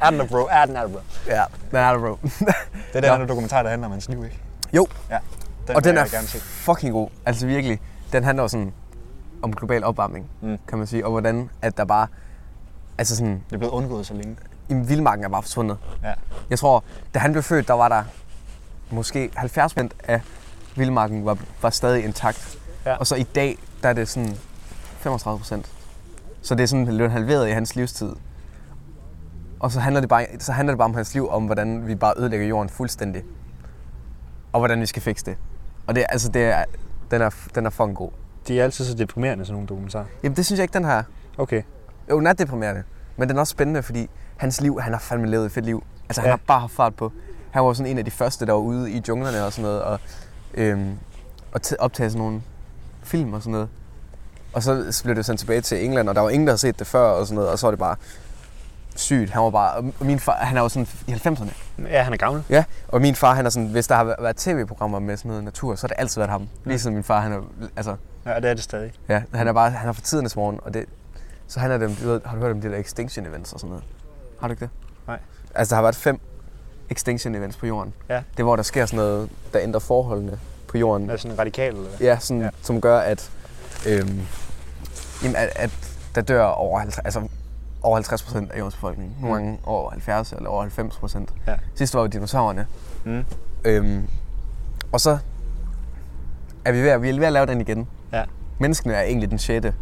Attenborough. Attenborough. Attenborough. Ja, den er Attenborough. Det er den her dokumentar, der handler om hans liv, ikke? jo, Ja. Den og vil den er jeg gerne se. fucking god. Altså virkelig. Den handler jo sådan om global opvarmning, Mm. kan man sige. Og hvordan at der bare... Altså sådan, Det er blevet undgået så længe. jamen, vildmarken er bare forsvundet. Ja. Jeg tror, da han blev født, der var der måske 70 procent af vildmarken var, var stadig intakt. Ja. Og så i dag, der er det sådan 35 procent. Så det er sådan blevet halveret i hans livstid. Og så handler, det bare, så handler det bare om hans liv, om hvordan vi bare ødelægger jorden fuldstændig. Og hvordan vi skal fikse det. Og det, er- altså, det er, den er, den er fucking god. De er altid så deprimerende, sådan nogle dokumentarer. Jamen det synes jeg ikke, den her. Okay. Jo, den er deprimerende. Men den er også spændende, fordi hans liv, han har fandme levet et fedt liv. Altså, han Ja. har bare haft fart på. Han var jo sådan en af de første, der var ude i junglerne og sådan noget, og, øhm, og t- optage sådan nogle film og sådan noget. Og så blev det sendt tilbage til England, og der var ingen, der havde set det før og sådan noget, og så var det bare sygt. Han var bare, og min far, han er jo sådan i 90'erne. Ja, han er gammel. Ja, og min far, han er sådan, hvis der har væ- været tv-programmer med sådan noget natur, så har det altid været ham. Ligesom min far, han er, altså, Ja, det er det stadig. Ja, han er bare han er fra tidernes morgen, og det, så han er dem, du ved, har du hørt om de der extinction events og sådan noget? Har du ikke det? Nej. Altså, der har været fem extinction events på jorden. Ja. Det er, hvor der sker sådan noget, der ændrer forholdene på jorden. Er det sådan radikal, eller hvad? Ja, sådan, Ja. ja. som gør, at, øhm, jamen, at, at der dør over 50, altså, over 50 procent af jordens befolkning. Nogle gange over 70 eller over 90 procent. Mm. Ja. Sidst var jo dinosaurerne. Mm. Øhm, og så er vi ved, at- vi er ved at lave den igen. Ja. Menneskene er egentlig den sjette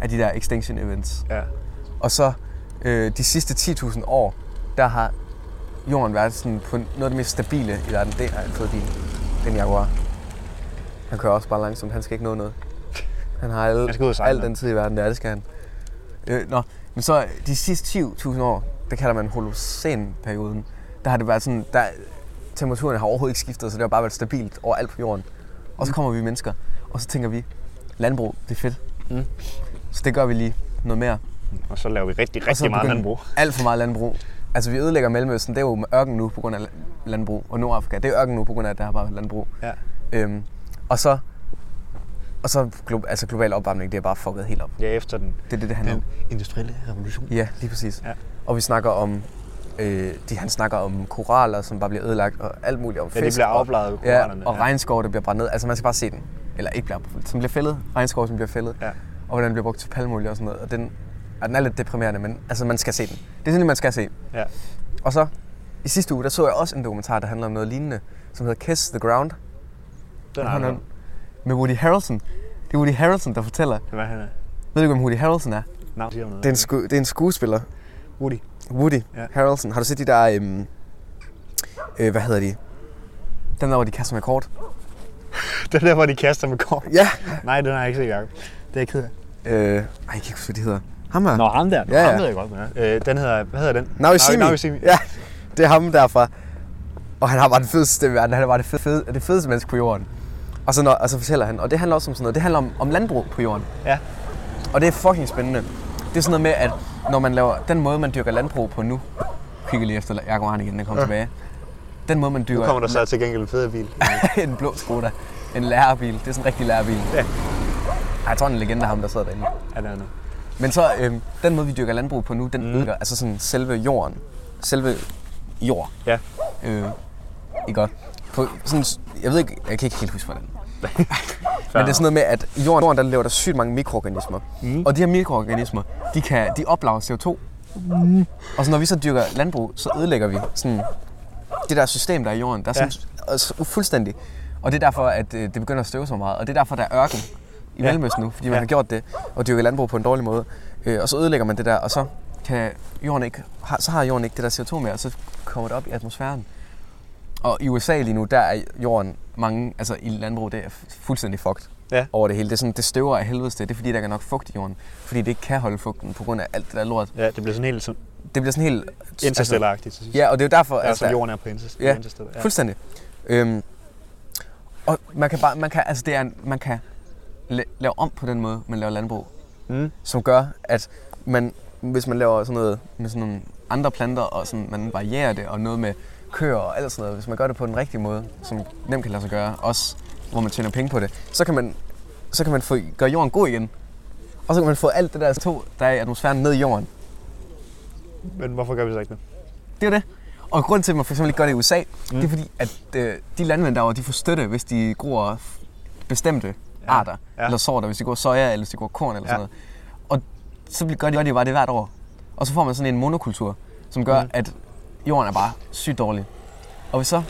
af de der extinction events. Ja. Og så øh, de sidste 10.000 år, der har jorden været sådan på noget af det mest stabile i verden. Det har jeg fået din, den Jaguar. Han kører også bare langsomt. Han skal ikke nå noget. Han har alle, Han skal ud og sejle al nu. den tid i verden. Ja, det skal han. Øh, nå, men så de sidste 10.000 år, der kalder man holocæn-perioden, der har det været sådan, der, temperaturen har overhovedet ikke skiftet, så det har bare været stabilt overalt på jorden. Og så kommer vi mennesker, og så tænker vi, landbrug, det er fedt. Mm. Så det gør vi lige noget mere. Og så laver vi rigtig, Og så rigtig meget begyndte landbrug. Alt for meget landbrug. Altså vi ødelægger Mellemøsten, det er jo ørken nu på grund af la- landbrug. Og Nordafrika, det er ørken nu på grund af, at der har bare været landbrug. Ja. Øhm, og så, og så glo- altså global opvarmning, det er bare fucket helt op. ja, efter den, Det er det, det handler om. den industrielle revolution. Ja, lige præcis. Ja. Og vi snakker om, øh, de, han snakker om koraller, som bare bliver ødelagt, og alt muligt om Ja, fisk. de bliver og- afbladet, Ja, korallerne, og ja. regnskov, der bliver brændt ned. Altså man skal bare se den. Eller ikke bliver som bliver fældet. Regnskov, som bliver fældet. Ja. Og hvordan den bliver brugt til palmolie og sådan noget. Og den, og den er lidt deprimerende, men altså man skal se den. Det er sådan, man skal se. Ja. Og så i sidste uge, der så jeg også en dokumentar, der handler om noget lignende, som hedder Kiss the Ground. Den Den har handler han. om- Med Woody Harrelson. Det er Woody Harrelson, der fortæller. Hvad er han er? Ved du ikke, hvem Woody Harrelson er? Navn siger noget. Det er en, (laughs) sku- det er en skuespiller. Woody. Woody Ja. ja. Harrelson. Har du set de der... Øhm, øh, hvad hedder de? Den der, hvor de kaster med kort. Den der, hvor de kaster med kort. Ja. Nej, den har jeg ikke set, Jacob. Det er jeg ked af. Øh, ej, jeg kan ikke huske, hvad de hedder. Ham her. Nå, ham der. Nå, Ja, ja, ja. ja. Ham ved jeg godt, med. Øh, den hedder, hvad hedder den? Now you see me. Now you see me. Ja, det er ham derfra. Og han har bare den fedeste stemme i verden. Han er bare det, fed, fed, det fedeste menneske på jorden. Og så, når, og så fortæller han, og det handler også om sådan noget. Det handler om, om landbrug på jorden. ja. Og det er fucking spændende. Det er sådan noget med, at når man laver den måde, man dyrker landbrug på nu, kigger lige efter Jakob Arne igen, der kommer ja. tilbage. Den måde, man Nu dyrker kommer der så til gengæld en fed bil. (laughs) en blå Skoda, en lærerbil, det er sådan en rigtig lærerbil. Ja. Ej, Jeg tror, han er en legende ham, der sidder derinde. Ja, den er. Men så, øhm, den måde, vi dyrker landbrug på nu, den mm. ødelægger altså sådan selve jorden. Selve jord. Ja. Øh, ikke godt. På sådan, jeg ved ikke, jeg kan ikke helt huske, hvordan. Men det er sådan noget med, at i jorden, jorden der lever der sygt mange mikroorganismer. Mm. Og de her mikroorganismer, de, kan, de oplager CO2. Og så når vi så dyrker landbrug, så ødelægger vi sådan det der system, der er i jorden. Der er sådan, ja. altså, fuldstændig. Og det er derfor, at øh, det begynder at støve så meget. Og det er derfor, der er ørken i Mellemøsten nu, fordi man Ja. har gjort det og dyrket landbrug på en dårlig måde. Øh, og så ødelægger man det der, og så, kan jorden ikke, har, så har jorden ikke det der CO2 mere, og så kommer det op i atmosfæren. Og i USA lige nu, der er jorden mange, altså i landbrug, det er fu- fuldstændig fucked Ja. over det hele. Det, er sådan, det støver af helvedes til. Det er fordi, der ikke er nok fugt i jorden. Fordi det ikke kan holde fugten på grund af alt det der lort. Ja, det bliver sådan helt sådan Det bliver sådan helt... interstellar-agtigt til sidst. Altså- ja, og det er jo derfor... Ja, altså, jorden er på interstellar. Ja, interstellar. Ja. Fuldstændig. Øhm, og man kan bare, man kan, altså det er, en- man kan la- lave om på den måde, man laver landbrug, Mm. som gør, at man, hvis man laver sådan noget med sådan nogle andre planter, og sådan, man varierer det, og noget med køer og alt sådan noget, hvis man gør det på den rigtige måde, som nemt kan lade sig gøre, også hvor man tjener penge på det, så kan man, så kan man få, gøre jorden god igen. Og så kan man få alt det der CO2, der er i atmosfæren, ned i jorden. Men hvorfor gør vi så ikke det? Det er jo det. Og grunden til, at man for eksempel ikke gør det i USA, mm. det er fordi, at øh, de landmænd derovre, de får støtte, hvis de gror f- bestemte ja. arter. Ja. Ja. Eller sorter, hvis de gror soja, eller hvis de gror korn, eller ja. Ja. sådan noget. Og så bl- gør de, gør de bare det hvert år. Og så får man sådan en monokultur, som gør, mm. at jorden er bare sygt dårlig. Og hvis så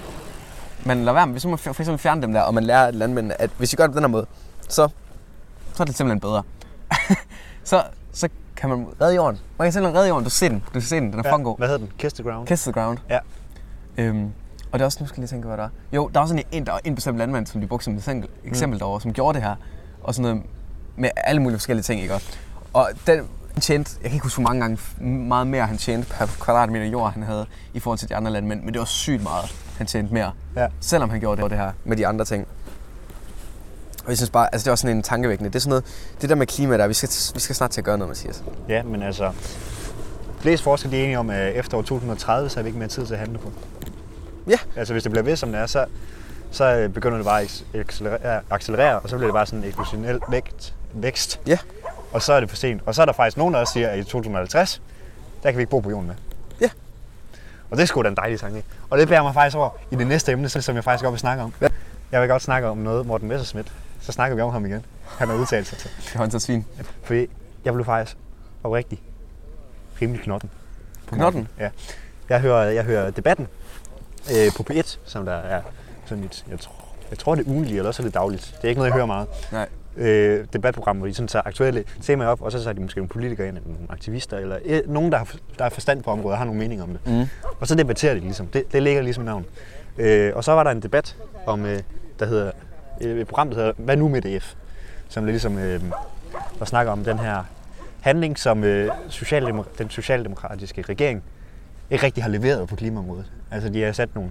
man lader være med, hvis man for eksempel fjerner dem der, og man lærer landmændene, at hvis I gør det på den her måde, så, så er det simpelthen bedre. (laughs) så, så kan man redde jorden. Man kan simpelthen redde jorden. Du ser den. Du ser den. Den er ja. fucking god. Hvad hedder den? Kiss the ground? Kiss the ground. Ja. Øhm, og det er også, nu skal jeg lige tænke, hvad der er. Jo, der er også en, en, der er en bestemt landmand, som de brugte som eksempel, eksempel derovre, som gjorde det her. Og sådan noget med alle mulige forskellige ting, ikke også? Og den han tjente, jeg kan ikke huske, hvor mange gange f- meget mere han tjente per kvadratmeter jord, han havde i forhold til de andre landmænd, men det var sygt meget, han tjente mere. Ja. Selvom han gjorde det, det her med de andre ting. Og jeg synes bare, altså det er også sådan en tankevækkende. Det er sådan noget, det der med klima der, vi skal, vi skal snart til at gøre noget, Mathias. Ja, men altså... Flest forskere de er enige om, at efter år 2030, så har vi ikke mere tid til at handle på. Ja. Altså, hvis det bliver ved, som det er, så, så øh, begynder det bare at accelerere, accelerere, og så bliver det bare sådan en eksplosionel vægt, vækst. Ja. Og så er det for sent. Og så er der faktisk nogen, der også siger, at i 2050, der kan vi ikke bo på jorden med. Ja. Og det er sgu da en dejlig tanke. Og det bærer mig faktisk over i det næste emne, som jeg faktisk godt vil snakke om. Ja. Jeg vil godt snakke om noget, Morten Messerschmidt. Så snakker vi om ham igen. Han har udtalt sig til. Det er håndtaget svin. Fordi jeg blev faktisk oprigtig rimelig knotten. På Knotten? morgenen. Ja. Jeg hører, jeg hører debatten øh, på P1, som der er sådan et, jeg tror, jeg tror det er ugenligt, eller også er det dagligt. Det er ikke noget, jeg hører meget. Nej. øh, debatprogram, hvor de sådan tager aktuelle temaer op, og så tager de måske nogle politikere ind, eller nogle aktivister, eller øh, nogen, der har, der har forstand på området og har nogle meninger om det. Mm. Og så debatterer de ligesom. Det, det ligger ligesom i navn. Øh, og så var der en debat om, øh, der hedder, øh, et program, der hedder Hvad nu med DF? Som det ligesom, øh, der snakker om den her handling, som øh, socialdemok- den socialdemokratiske regering ikke rigtig har leveret på klimaområdet. Altså de har sat nogle,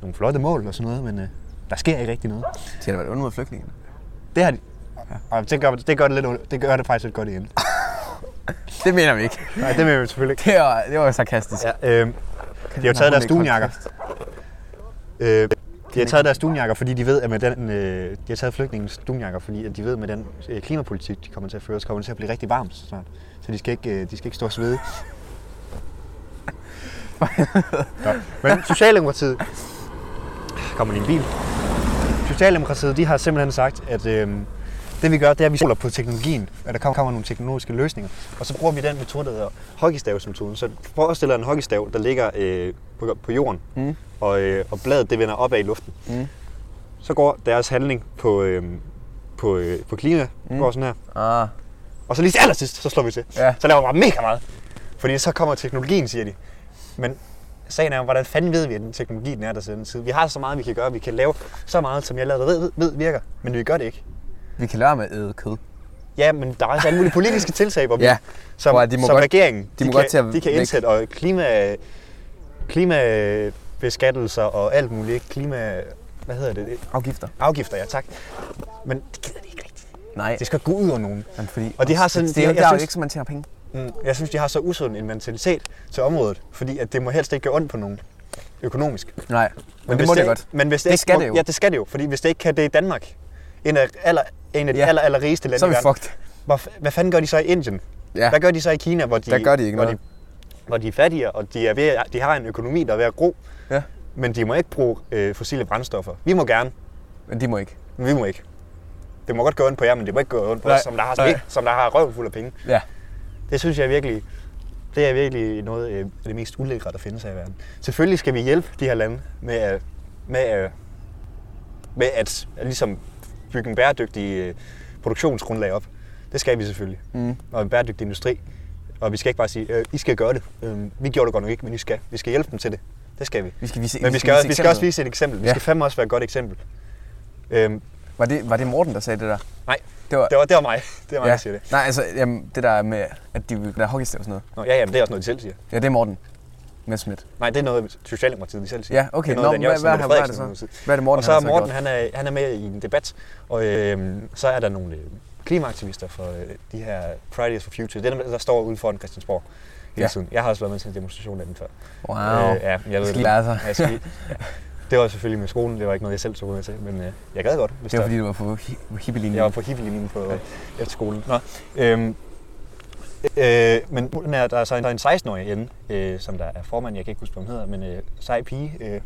nogle flotte mål og sådan noget, men øh, der sker ikke rigtig noget. Det har da været ondt mod flygtningene. Det har de. Og det gør det, gør det, lidt, det gør det faktisk lidt godt igen. Det mener vi ikke. (laughs) Nej, det mener jeg selvfølgelig ikke. Det var, det var sarkastisk. Ja, øh, de har taget deres dunjakker. Øh, de har taget deres dunjakker, fordi de ved, at med den, øh, de har taget flygtningens dunjakker, fordi at de ved, at med den øh, klimapolitik, de kommer til at føre, så kommer det til at blive rigtig varmt så snart. Så de skal ikke, øh, de skal ikke stå og svede. Nå. Men Socialdemokratiet... Kommer din bil? Socialdemokratiet, de har simpelthen sagt, at øh, det vi gør, det er, at vi stoler på teknologien, at der kommer, kommer nogle teknologiske løsninger, og så bruger vi den metode, der hedder hockeystavsmetoden. Så forestil dig en hockeystav, der ligger øh, på, på jorden, Mm. og, øh, og bladet det vender opad i luften. Mm. Så går deres handling på, øh, på, øh, på klima, mm. går sådan her. Ah, Og så lige til allersidst, så slår vi til. Ja. Så laver vi bare mega meget. Fordi så kommer teknologien, siger de. Men sagen er jo, hvordan fanden ved vi, at den teknologi den er der siden tid? Vi har så meget, vi kan gøre. Vi kan lave så meget, som jeg allerede ved, ved virker. Men vi gør det ikke. vi kan lade med at æde kød. Ja, men der er også alle mulige (laughs) politiske tiltag, hvor vi, Ja. som, Prøv at de må som godt- regeringen, de, må kan, godt til at de kan væk. indsætte, og klima, klimabeskattelser og alt muligt, klima, hvad hedder det, Afgifter. afgifter, ja tak. Men det gider de ikke rigtigt. Nej. Det skal gå ud over nogen. Men fordi, Og de har sådan- det, det, er jo- jeg- der jeg er jo synes- ikke, så man tjener penge. Mm, Jeg synes, de har så usund en mentalitet til området, fordi at det må helst ikke gøre ondt på nogen økonomisk. Men, Nej, men, det må det, godt. Men hvis det, Det ikke, skal må- det jo. Ja, det skal det jo, fordi hvis det ikke kan det i Danmark, en af, aller, en af de Ja. aller, aller rigeste lande Så er vi i verden, fucked. hvor, f- hvad fanden gør de så i Indien? Ja. Hvad gør de så i Kina, hvor de, Der gør de ikke hvor noget. De, hvor de er fattigere, og de, er ved, at- de har en økonomi, der er ved at gro, ja. men de må ikke bruge øh, fossile brændstoffer. Vi må gerne, Men de må ikke. men vi må ikke. Det må godt gøre ondt på jer, men det må ikke gøre ondt på Nej. os, som der har, Nej. som der har røven fuld af penge. Ja. Det synes jeg virkelig, det er virkelig noget øh, af det mest ulækre, der findes her i verden. Selvfølgelig skal vi hjælpe de her lande med at, med at, med at, at ligesom bygge en bæredygtig øh, produktionsgrundlag op. Det skal vi selvfølgelig. Mm. Og en bæredygtig industri. Og vi skal ikke bare sige, øh, I skal gøre det. Øh, vi gjorde det godt nok ikke, men I skal. Vi skal hjælpe dem til det. Det skal vi. Vi skal vise, Men vi skal, også, vi skal også eksemplet. vise et eksempel. Vi Ja. skal fandme også være et godt eksempel. Øhm, Var det, var det Morten, der sagde det der? nej, Det var, det var, det var mig. (laughs) Det var mig, der siger det. Nej, altså jamen, det der med, at de vil lade hockeystav og sådan noget. Nå, ja, ja, men det er også noget, de selv siger. Ja, det er Morten. Messerschmidt. Nej, det er noget, Socialdemokratiet de selv siger. Ja, okay. Det er noget, Nå, Dan hvad, Jørgensen hvad, og hvad, Mette hvad er det Frederiksen så? har Hvad er det Morten, og så har er så Morten, gjort? han er, han er med i en debat, og øh, så er der nogle øh, klimaaktivister fra øh, de her Fridays for Future. Det er dem, der står ude foran Christiansborg hele Ja. tiden. Jeg har også været med til en demonstration af den før. Wow. Øh, ja, jeg ved skal det. lære sig. Ja, jeg skal lige- (laughs) ja. Det var selvfølgelig med skolen, det var ikke noget, jeg selv tog med til, men øh, jeg gad godt. Hvis det var der- fordi, du var på hi- på hippielinjen. jeg var på hippielinjen på øh, efterskolen. Nå. Øhm, øh, men hun er, der er så en, der er en 16-årig inde, øh, som der er formand, jeg kan ikke huske, hvad hun hedder, men øh, sej pige, øh,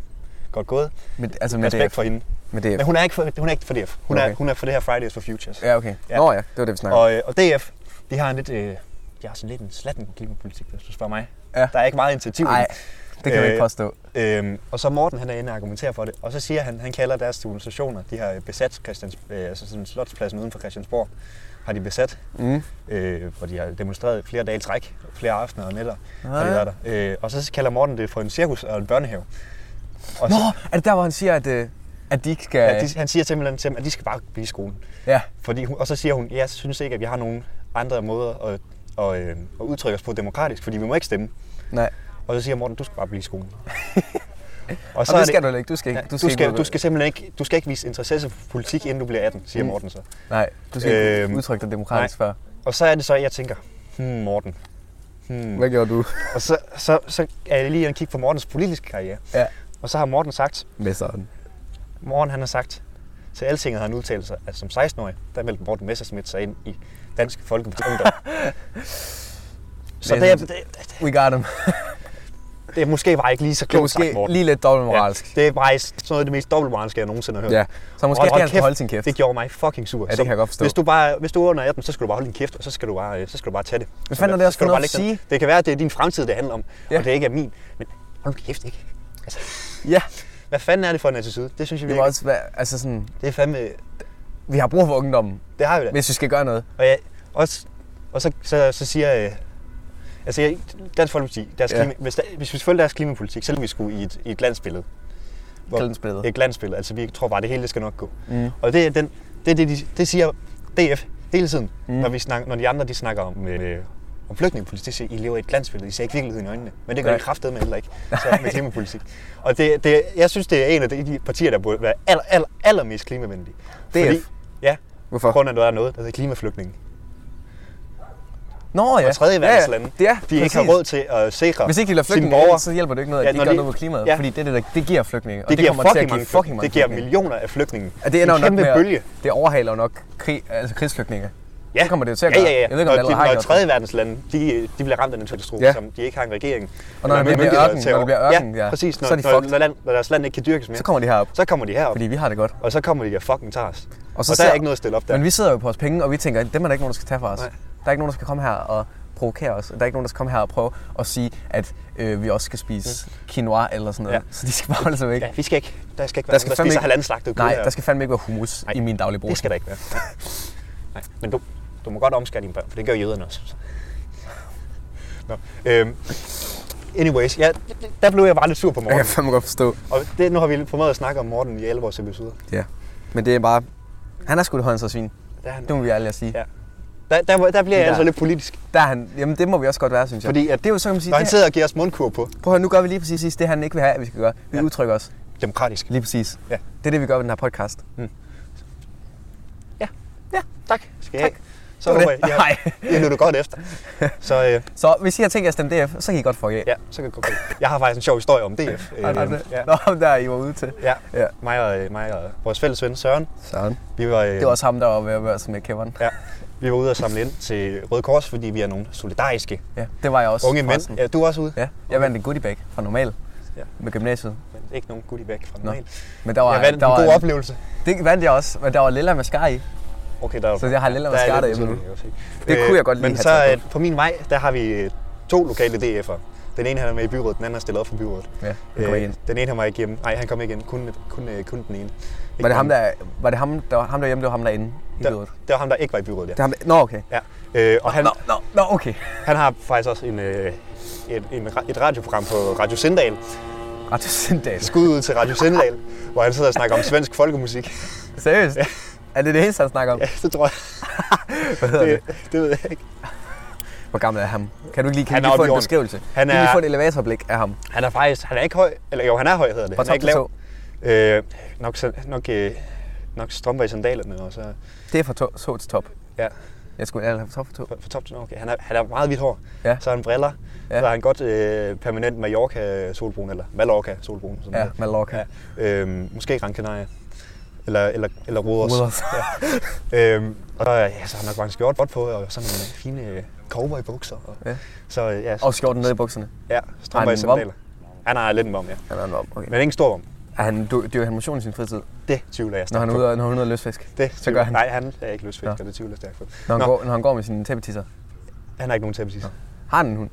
godt gået. Med, altså med Respekt DF. for hende. Med DF. Men hun er ikke for, hun er ikke for DF. Hun, okay. er, Okay. hun er for det her Fridays for Futures. Ja, okay. Ja. Nå ja, det var det, vi snakkede om. Og, øh, og DF, de har en lidt, øh, de har sådan lidt en slatten klimapolitik, hvis du spørger mig. Ja. Der er ikke meget initiativ i Nej, den. det kan vi Øh, ikke påstå. Øhm, og så Morten, han er inde og argumenterer for det. Og så siger han, han kalder deres demonstrationer, de har besat Christians, øh, altså sådan slotspladsen uden for Christiansborg, har de besat. Mm. Øh, hvor de har demonstreret flere dage i træk, flere aftener og nætter. Har de Ah. været der. Øh, og så kalder Morten det for en cirkus og en børnehave. Og Nå, Så, er det der, hvor han siger, at, øh, at de ikke skal... ja, de, han siger simpelthen til dem, at de skal bare blive i skolen. ja. Fordi hun, og så siger hun, jeg synes ikke, at vi har nogen andre måder at, at, øh, at udtrykke os på demokratisk, fordi vi må ikke stemme. Nej. Og så siger Morten, du skal bare blive i (laughs) skolen. Og, så og det, skal du ikke. Du skal ikke. Du skal, du, skal, ud- du skal simpelthen ikke, du skal ikke vise interesse for politik, inden du bliver 18, siger Mm. Morten så. Nej, du skal ikke Øhm, udtrykke dig demokratisk før. Og så er det så, at jeg tænker, hmm, Morten. Hmm. Hvad gjorde du? Og så, så, så er jeg lige inde og kigge på Mortens politiske karriere. Ja, Og så har Morten sagt, mesteren. Morten han har sagt, til Altinget har han udtalt sig, at som 16-årig, der meldte Morten Messerschmidt sig ind i Dansk Folkeparti (laughs) Ungdom. så Det er det er, sådan- det, We got him. det er måske bare ikke lige så Det er klogt sagt, måske Morten. lige lidt dobbeltmoralsk. Ja, det er faktisk sådan noget af det mest dobbeltmoralske, jeg nogensinde har hørt. Ja. Så måske Og skal han kæft, skulle holde sin kæft. Det gjorde mig fucking sur. det Så kan jeg godt forstå. Hvis du, bare, hvis du er under 18, så skal du bare holde din kæft, og så skal du bare, øh, så skal du bare tage det. Hvad fanden er det også for noget at Det kan være, at det er din fremtid, det handler om, Ja. og det ikke er min. Men hold nu kæft, ikke? Altså, Ja, hvad fanden er det for en attitude? Det synes jeg det var virkelig. også, hvad- altså sådan, Det er fandme... vi har brug for ungdommen, Det har vi da. hvis vi skal gøre noget. Og, jeg, også, og så, så, så siger jeg, altså jeg, Dansk Folkeparti, deres Ja. klima, hvis, der, hvis vi følger deres klimapolitik, så er vi sgu i et, i et glansbillede. Hvor- Glansbillede. Et glansbillede, altså vi tror bare, det hele det skal nok gå. Mm. Og det, er den, det, er det, de, det siger DF hele tiden, mm. Mm. når, vi snakker, når de andre de snakker om, øh, om flygtningepolitik. De siger, I lever i et glansbillede, I ser ikke virkeligheden i øjnene. Men det gør (laughs) Nej. de kraftedeme med heller ikke så med klimapolitik. Og det, det, jeg synes, det er en af de de partier, der burde være aller, aller, allermest klimavenlige. DF? ja, Hvorfor? på grund af, at der er noget, der hedder klimaflygtninge. Nå ja. Og tredje verdenslande, Ja, ja, de ikke har præcis. råd til at sikre Hvis ikke de lader sine flygtninge, borgere. så hjælper det ikke noget, Ja, at ja, de når gør de- noget ved klimaet. ja. Ja. Fordi det, det, det giver flygtninge, og det, det, giver kommer til at fucking give mange flygtninge. fucking mange Det giver flygtninge. millioner af flygtninge. Ja, det en ender jo nok kæmpe med, at bølge. det overhaler jo nok krig, altså krigsflygtninge. Ja. Det kommer det jo til at ja, gøre. ja, ja. Jeg ved ikke, om og det de, allerede har når gjort tredje verdenslande, de, de bliver ramt af den katastrofe, ja. Ja. som de ikke har en regering. Og når eller det bliver myndigheder ørken- til at- når det bliver ørken, ja, ja, præcis. Når, så er de når, fucked. når, land, når deres land ikke kan dyrkes mere, Så kommer de herop, så kommer de herop. fordi vi har det godt. Og så kommer de der fucking tager os. Og, så og der sidder- er ikke noget at stille op der. Men vi sidder jo på vores penge, og vi tænker, dem er der ikke nogen, der skal tage fra os. Nej. Der er ikke nogen, der skal komme her og provokere os. Der er ikke nogen, der skal komme her og prøve at sige, at øh, vi også skal spise quinoa eller sådan noget. Mm. Ja. Ja. Så de skal bare holde sig væk. Ja, vi skal ikke. Der skal ikke være der, Der skal skal nogen, der fandme spiser ikke- halvanden slagtet kød Nej, her. der skal fandme ikke være hummus Nej. i min daglige brug. Det skal der ikke være. Nej, men du, du må godt omskære dine børn, for det gør jøderne også. Nå, øhm, anyways, ja, der blev jeg bare lidt sur på Jeg Morten. kan fandme godt forstå. Og det, nu har vi formået at snakke om Morten i alle vores episoder. Ja. Men det er bare... Han er sgu et håndsvin. Der, er han, Det må vi ærligt at sige. Ja. der, der, må- der bliver jeg Der. altså lidt politisk. Der er han, jamen det må vi også godt være, synes jeg. Fordi at- det er jo så, kan man sige, Når han det, sidder og giver os mundkur på. prøv at høre, nu gør vi lige præcis det, han ikke vil have, at vi skal gøre. Vi Ja. ja. udtrykker os. Demokratisk. Lige præcis. Ja. Det er det, vi gør ved den her podcast. Tak. Skal jeg Tak. Så Det var håber jeg, det. I har, I har lyttet godt (laughs) efter. Så øh, Så hvis I har tænkt jer at stemme DF, så kan I godt fuck af. ja, så kan jeg gå godt. Jeg har faktisk en sjov historie om DF. Øh, Ej, nej, det- ja, Nå, ham der I var ude til. ja. Ja. Mig, og, øh, mig og vores fælles ven Søren, Sådan. vi var, øh, Det var også ham, der var ved at være med Kevin. ja, vi var ude og samle ind til Røde Kors, fordi vi er nogle solidariske Ja, det var jeg også. unge forresten. mænd. Ja, du er også ude. Ja, jeg vandt en goodiebag fra normal Ja. med gymnasiet. Men ikke nogen goodie bag fra Nå. normalt. Men der var, Jeg vandt der en var god oplevelse. Det vandt jeg også, men der var lilla mascara i. Okay, der er- Så jeg har lidt der lavet er skarter lidt Mm. i dem nu. forskelligt, jeg vil sige. Det kunne jeg godt lige Men så have taget øh, på min vej, der har vi øh, to lokale DF'er. Den ene han er med i byrådet, den anden er stillet op for byrådet. Ja, det kom igen. Øh, den ene han var ikke hjemme. Nej, han kom ikke igen. Kun, kun, øh, kun den ene. Ikke Var det ham den- der, var det ham, der, var ham der hjemme, det var ham derinde i der, byrådet? Det var ham, der ikke var i byrådet, ja. Det er ham der, nå okay. ja. Øh, og han, Nå, nå, nå okay. han har faktisk også en, øh, et, en, ra- et radioprogram på Radio Sindal. Radio Sindal. Skud ud til Radio Sindal, (laughs) hvor han sidder og snakker om svensk (laughs) folkemusik. Seriøst? Er det det eneste, han snakker om? Ja, det tror jeg. Hvad hedder det? Det, det ved jeg ikke. Hvor gammel er ham? Kan du ikke lige, kan Han han er lige få oppe i en årene. beskrivelse? Han Kan vi er- lige få et elevatorblik af ham? Han er faktisk, han er ikke høj, eller jo, han er høj hedder det. Fra han er top ikke til tå. Øh, nok, sa- nok, øh, nok strømper i sandalerne, og så Det er fra to, så til top. ja, Jeg skulle aldrig have top for to. fra, fra top til okay. Han, er, han har meget hvidt hår, Ja. så har han briller, ja. Ja. så har han godt øh, permanent Mallorca-solbrun, eller Mallorca-solbrun. Sådan Ja, noget. Mallorca. Ja. Ja, øh, måske Gran Canaria, eller, eller, eller Ruders. Ruders. Ja. Øh, og ja, så har han nok bare en skjort godt på, og sådan nogle fine øh, cowboy-bukser. Og, Ja. Så øh, ja, Og skjorten ned i bukserne. ja, strømper i Har han en vom? sandaler. Han har lidt en vom, ja. Han er en om, okay. Men ingen stor vom. Er han dyr- dyrker han motion i sin fritid, Det tvivler jeg når stærkt han er på. ude, når han er ude at løsfisk? Det så tvivler- gør han. Nej, han er ikke løsfisker, Nå. det tvivler jeg stærkt på. Når han, Nå. går, når han går med sine tæppetisser. Han har ikke nogen til præcis. Har han en hund?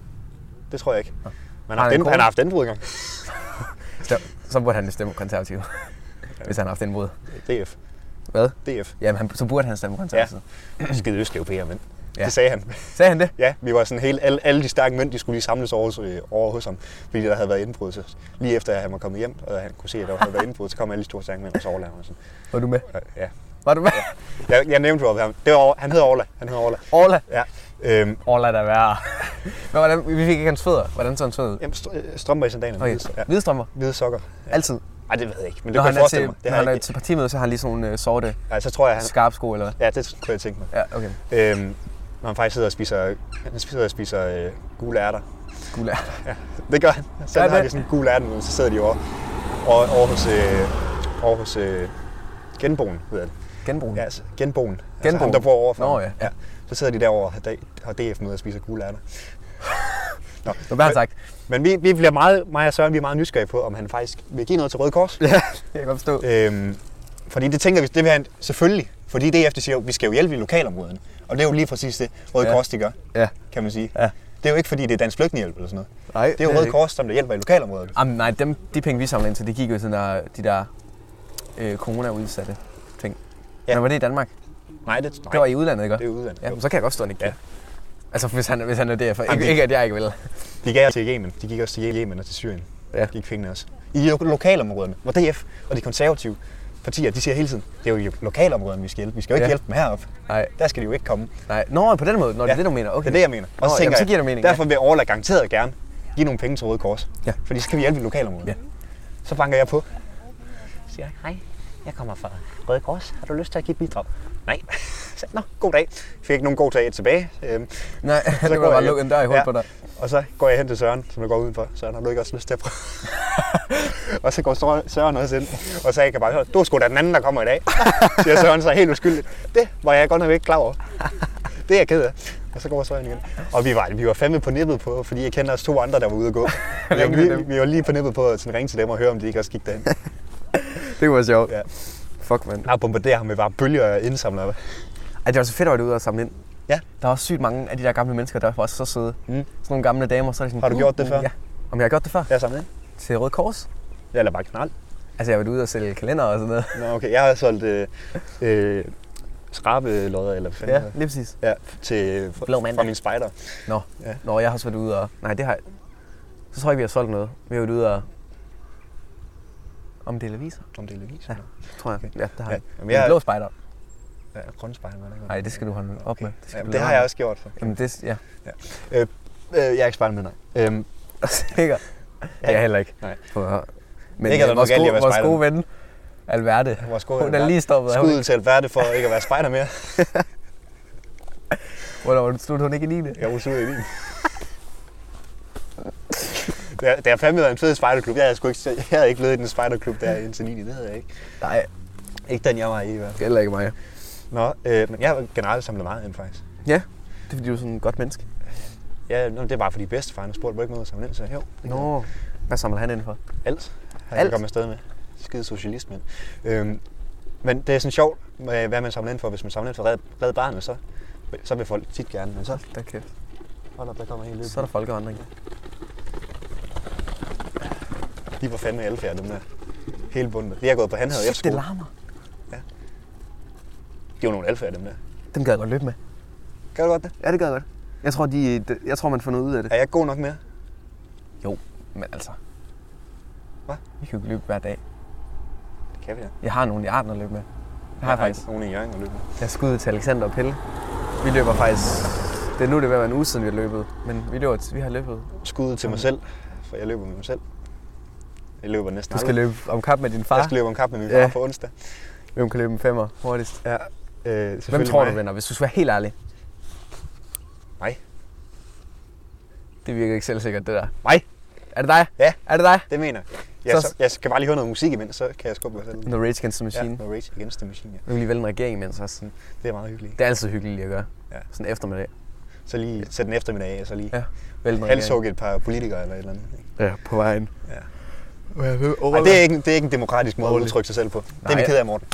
Det tror jeg ikke. Men han har, Har haft han en den, kone? han har haft indbrud engang. Så, så burde han stemme konservativ. hvis han har haft en mod. DF. Hvad? DF. Jamen, han, så burde han stemme Ja. konservativ. Skide østeuropæer, men. Ja. Ja. Det sagde han. Sagde han det? Ja, vi var sådan hele, alle, alle de stærke mænd, de skulle lige samles over, hos- øh, over hos ham, fordi der havde været indbrud. Så lige efter at han var kommet hjem, og han kunne se, at der havde været indbrud, så kom alle de store stærke mænd, og så Orla. Og sådan. Var du med? Og, Ja. Var du med? Jeg, jeg nævnte jo ham. Det var, Orla. han hed Orla. Han hed Orla. Orla. Ja. Øhm, Orla, der værre. Men hvordan, vi fik ikke hans fødder. Hvordan så hans fødder ud? jamen, str- øh, strømper i sandalerne. Okay. Hvide- Ja. Hvide strømper. Hvide sokker. Altid. Nej, det ved jeg ikke, men det Når kunne han jeg er, forestille mig. til, Det når har han jeg er ikke. til partimøde, så har han lige sådan nogle øh, sorte Ja, så tror jeg, han... skarpe sko, eller hvad? Ja, det kunne jeg tænke mig. Ja, okay. Øhm, når han faktisk sidder og spiser, han sidder og spiser øh, gule ærter. Gule ærter. Det gør han. Så Ja, har de det- sådan en gul ærten, så sidder de over, over, over hos, øh, over hos øh, genboen, hedder det. Genbrug. Ja, Ja. altså, genboen. genboen. Altså ham, Genboen. der bor overfor. Nå, ham. ja. Så sidder de derovre og har dag- har DF med og spiser gule ærter. Nå. Hvad har han sagt? Men vi, vi bliver meget, mig og Søren, vi er meget nysgerrige på, om han faktisk vil give noget til Røde Kors. Ja, det kan jeg godt forstå. Øhm, fordi det tænker vi, det vil han selvfølgelig. Fordi DF, de siger jo, vi skal jo hjælpe i lokalområderne. Og det er jo lige præcis det, Røde Ja. Kors, de gør. Ja. kan man sige. Ja. Det er jo ikke fordi, det er Dansk Flygtningehjælp eller sådan noget. Nej, Det er jo Røde Kors, som der hjælper i lokalområdet. Jamen, nej, dem, de penge, vi samler ind til, de gik jo til den der, de der øh, corona-udsatte ting. Ja. Men var det i Danmark? Nej, det, nej, Det var i udlandet, ikke? det er udlandet. Ja, men så kan jeg godt stå og nikke. Ja. Ja. Altså, hvis han, hvis han er derfor. Jamen, Ikke, det- ikke, at jeg ikke vil. De gav til Yemen. De gik også til Yemen og til Syrien. Ja. Gik pengene også. I lo- lokalområderne, hvor DF og de konservative partier, de siger hele tiden, det er jo i lokalområderne, vi skal hjælpe. Vi skal jo ikke Ja. hjælpe dem heroppe. Nej, Der skal de jo ikke komme. Okay. nej. Nå, på den måde. Nå, det Ja. er det, du mener. Okay. Det er det, jeg mener. Nå, jamen, så giver det mening, ja. derfor vil Orla garanteret gerne give nogle penge til Røde Kors. Ja. Fordi så kan vi hjælpe i lokalområdet. Ja. Så banker jeg på. siger, hej, jeg kommer fra Røde Kors. Har du lyst til at give et bidrag? Nej. (laughs) Så, Nå, god dag. Fik ikke nogen god dag tilbage. Øhm, Nej, Så (laughs) det går var bare jeg- lukket en dør i hovedet Ja. på dig. Og så går jeg hen til Søren, som jeg går udenfor. Søren, har du ikke også lyst til at prøve? og så går Søren- Søren også ind, og så jeg kan bare høre, du er sgu da den anden, der kommer i dag. siger Søren så helt uskyldigt. Det var jeg godt nok ikke klar over. Det er jeg ked af. Og så går Søren igen. Og vi var, vi var fandme på nippet på, fordi jeg kender også to andre, der var ude at gå. Ring vi, til vi, dem. vi, var lige på nippet på at sådan ringe til dem og høre, om de ikke også gik derhen. Det var sjovt. Ja. Fuck, mand. Jeg bombarderer ham med bare bølger og indsamler. Ej, det var så fedt at være ude og samle ind. Ja. Der er også sygt mange af de der gamle mennesker, der er også så søde. Mm. Sådan nogle gamle damer, så er de sådan... "Uh, Har du gjort det før? Ja. Om jeg har gjort det før? Jeg er samlet ind. Til Røde Kors? Jeg lader bare knald. Altså, jeg har været ude og sælge kalender og sådan noget. Nå, okay. Jeg har solgt øh, øh, skrabelodder, eller hvad fanden Ja, hedder det? lige præcis. Ja, til, fra, Blå fra mandag. min spejder. Nå. Ja. Ja. Nå, jeg har også været ude og... Nej, det har jeg... Så tror jeg ikke, vi har solgt noget. Vi har været ude og... Omdele aviser, Om det er Louise? Ja. eller- tror jeg. Okay. Ja, det har Ja, jeg. jamen, Men jeg- jeg... Blå spejder. Ja, grønspejder. hvad er det? Nej, det skal du holde op med. Det, skal Jamen, du det lade har være jeg med. også gjort. For. Jamen, det... Ja. Øh, jeg er ikke spejder med, nej. Øhm, (laughs) Sikkert. Ja. Jeg heller ikke. Nej. For, men øh, Ikke, at der er vores, nok alt i at være gode, vores spejder. gode ven, Alverde, vores gode hun er lige stoppet. Er Hun, Skuddet til Alberte for ikke at være spejder mere. hvornår sluttede hun ikke i 9. (laughs) Jeg ruser ud i din. Det har- Det har fandme været en fed spejderklub. Jeg havde, sgu ikke, jeg havde ikke blevet i den spejderklub der indtil 9. Det havde jeg ikke. Nej, Ikke den, jeg var i i hvert fald. heller ikke mig. Nå, øh, men jeg har generelt samlet meget ind, faktisk. Det er fordi, du er sådan en godt menneske. Ja, nå, det er bare fordi bedstefaren spurgte, må ikke med at samle ind, så jo. det kan Nå, hvad samler han ind for? Alt har jeg Alt? kommet afsted med. Skide socialist, mand. Øhm, men det er sådan sjovt, med, hvad man samler ind for. Hvis man samler ind for red, red barnet, så, så vil folk tit gerne. Men så, Da kæft. hold op, der kommer helt Så er der folkevandring. De var fandme alfærd, dem der. Hele bundet. De har gået på handhavet efter Shit, det skole. larmer. De var nogle alfærd, dem der. Dem gad jeg godt løbe med. Gør du godt det? Ja, det gad jeg godt. Jeg tror, de, de- jeg tror man får noget ud af det. Er jeg ikke god nok mere? Men altså. Hvad? Vi kan jo ikke løbe hver dag. Det kan vi da. Jeg har nogen i arten at løbe med. Det har jeg faktisk. Nogen i Jørgen og løbet. Jeg skal ud til Alexander og Pelle. Vi løber faktisk... Det er nu, det er ved at være en uge siden, vi har løbet. Men vi, løber, vi har løbet. Skud til mig selv, for jeg løber med mig selv. Jeg løber næsten Du skal aldrig. løbe om kap med din far. Jeg skal løbe om kap med min far Ja. på onsdag. Øh, Hvem kan løbe en femmer hurtigst? Ja. Øh, Hvem tror du vinder, hvis du skal være helt ærlig? Mig. Det virker ikke selvsikkert, det der. Mig? Er det dig? Ja. Er det dig? Det mener jeg. Jeg, Så- så, jeg skal bare lige høre noget musik imens, så kan jeg skubbe mig selv. Når Rage Against the Machine. Ja, noget Rage Against the Machine, ja. Nu kan lige vælge en regering imens også. Det er meget hyggeligt. Det er altid hyggeligt lige at gøre. Ja. Sådan eftermiddag. Så lige sæt en eftermiddag af, så lige Ja. Vælge en helst hugge et par politikere eller et eller andet. ikke? Ja, på vejen. Ja. Ej, Ej, det, er ikke, det er ikke en demokratisk måde at udtrykke sig selv på. Det er vi Nej. ked af, Morten.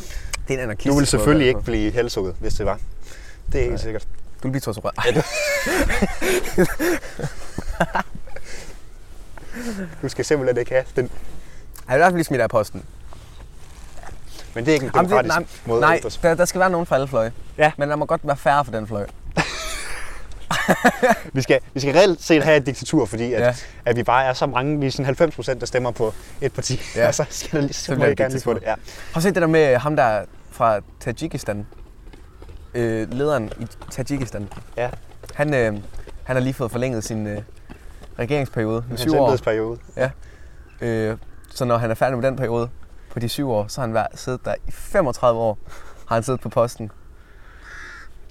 det er en anarkist. Du ville selvfølgelig ikke blive halshugget, hvis det var. Det er helt sikkert. Du vil blive tortureret. Du skal simpelthen ikke have den. Ej, jeg vil i hvert fald blive smidt af posten. Men det er ikke en Jamen, det- demokratisk måde at nej, ytre sig. der, der, skal være nogen fra alle fløje. Ja. Men der må godt være færre for den fløj. Vi skal, vi skal reelt set have et diktatur, fordi at, Ja. at vi bare er så mange, vi er sådan 90 procent, der stemmer på et parti. (laughs) Ja. Og så skal der lige, så må bliver jeg det gerne lige få det. diktatur. Ja. Har du set det der med øh, ham der fra Tajikistan? Øh, lederen i Tajikistan. Ja. Han, øh, han har lige fået forlænget sin øh, regeringsperiode med Hans syv år. embedsperiode. Øh, så når han er færdig med den periode på de syv år, så har han været, siddet der i 35 år. Har han siddet på posten.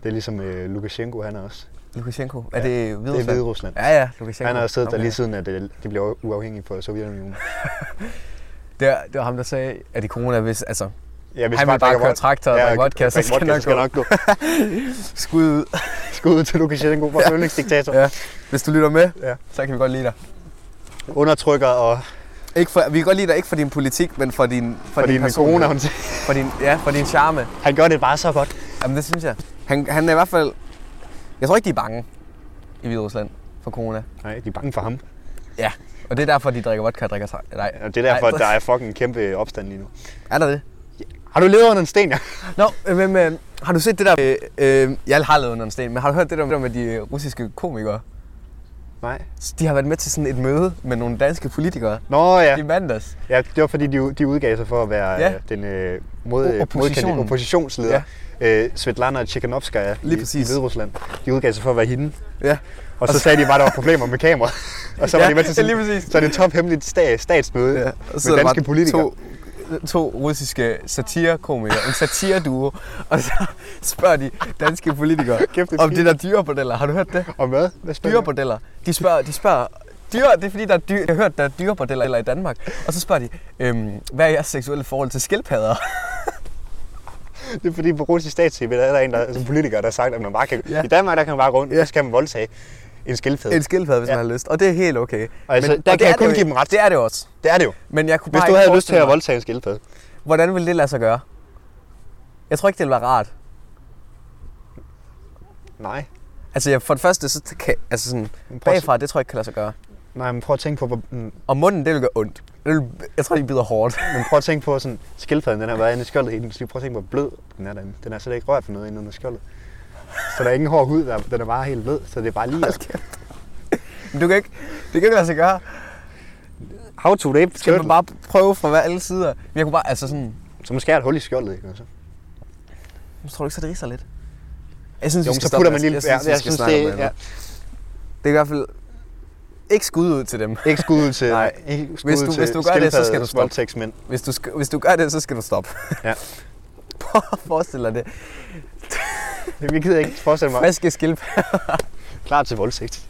Det er ligesom øh, Lukashenko, han er også. Lukashenko, er Ja, det Hviderusland? Det er Hviderusland. Ja, ja, Lukashenko. Han har også siddet okay. der Okay. lige siden, at det, det blev uafhængigt for (laughs) Sovjetunionen. Det var, det var ham, der sagde, at i corona, hvis, altså, Ja, han vil bare drikker køre vod- traktor og Ja, ja, vodka, så drikke altså, skal vodka, nok gå. nok gå. Skud ud. Skud til (laughs) Lukashenko for yndlingsdiktator. Ja. Hvis du lytter med, Ja. ja. så kan vi godt lide dig. Undertrykker og Ikke for, vi kan godt lide dig, ikke for din politik, men for din, for, fordi din med personlighed. corona, hun, For din, ja, for din charme. han gør det bare så godt. Jamen, det synes jeg. Han, han er i hvert fald... Jeg tror ikke, de er bange i Hviderusland for corona. Nej, de er bange for ham. Ja. Og det er derfor, de drikker vodka og drikker sig. Nej. Og det er derfor, Ej, at der er fucking kæmpe opstand lige nu. Er der det? Har du levet under en sten, ja? Nå, øh, men øh, har du set det der... Øh, øh, jeg har levet under en sten, men har du hørt det der det der med de øh, russiske komikere? Nej. De har været med til sådan et møde med nogle danske politikere Nå ja. i mandags. ja det var fordi, de, de udgav sig for at være Ja. ja. den øh, mod, O- oppositionen. opposition. oppositionsleder. Ja. Øh, Svetlana Tjekhanovskaya Lige i, i præcis. Hviderusland. De udgav sig for at være hende. Ja. Og så sagde de bare, at der var problemer med kamera. (laughs) og så var Ja, de med til ja, sådan, lige præcis. så er det tophemmeligt sta- statsmøde Ja, ja. og sidder med der danske bare politikere. To, to russiske satirekomikere, en satireduo, og så spørger de danske politikere (laughs) Kæft, det er om fint. det der dyrebordeller. Har du hørt det? Og hvad? Hvad spørger du? Dyrebordeller. De spørger, de spørger Dyr, det er fordi, der er dyr, jeg har hørt, der er dyrebordeller eller i Danmark. Og så spørger de, øhm, hvad er jeres seksuelle forhold til skildpadder? Det er fordi på russisk stats-tv, der er der en, der, som politiker, der har sagt, at man bare kan... Ja. Ja. I Danmark, der kan man bare gå rundt, Ja. ja. så kan man voldtage (laughs) en skildpadde. En skildpadde, hvis Ja. man har lyst. Og det er helt okay. altså, der og kan det jeg er kun det jo- give dem ret. Det er det også. Det er det jo. Men jeg kunne Hvis bare du ikke havde lyst til forestille at mig, voldtage en skildpadde. Hvordan ville det lade sig gøre? Jeg tror ikke, det ville være rart. Nej. Altså, jeg, for det første, så kan, altså sådan, Men prøv at- bagfra, det tror jeg ikke kan lade sig gøre. Nej, men prøv at tænke på, hvor, mm, Og munden, det vil gøre ondt. Det vil, jeg tror, de bider hårdt. (laughs) men prøv at tænke på sådan, skildpadden, den har været inde i skjoldet hele dens liv. Prøv at tænke på, hvor blød den er derinde. Den er slet ikke rørt for noget inde under skjoldet. Så der er ingen hård hud, der, den er bare helt blød, så det er bare lige at... Men du kan ikke, det kan ikke lade sig gøre. How to rape Skal man turtle. bare prøve fra hver alle sider? Men jeg kunne bare, altså sådan, Så man skærer et hul i skjoldet, ikke? Og Så. jeg tror du ikke, så det riser lidt? Jeg synes, Jo, men vi skal så stoppe putter med- man lige... Jeg synes, vi skal snakke om det, det. ja. Det er i hvert fald ikke skud ud til dem. Ikke skud ud til, Nej. nej. Ikke skud Hvis ud du- til hvis du gør det, så skal du skildpaddes stoppe. voldtægtsmænd. (laughs) Hvis du, sk- hvis du gør det, så skal du stoppe. Ja. (laughs) Prøv at forestille dig det. Jeg gider ikke forestille mig. Friske skildpadder. Klar til voldtægt.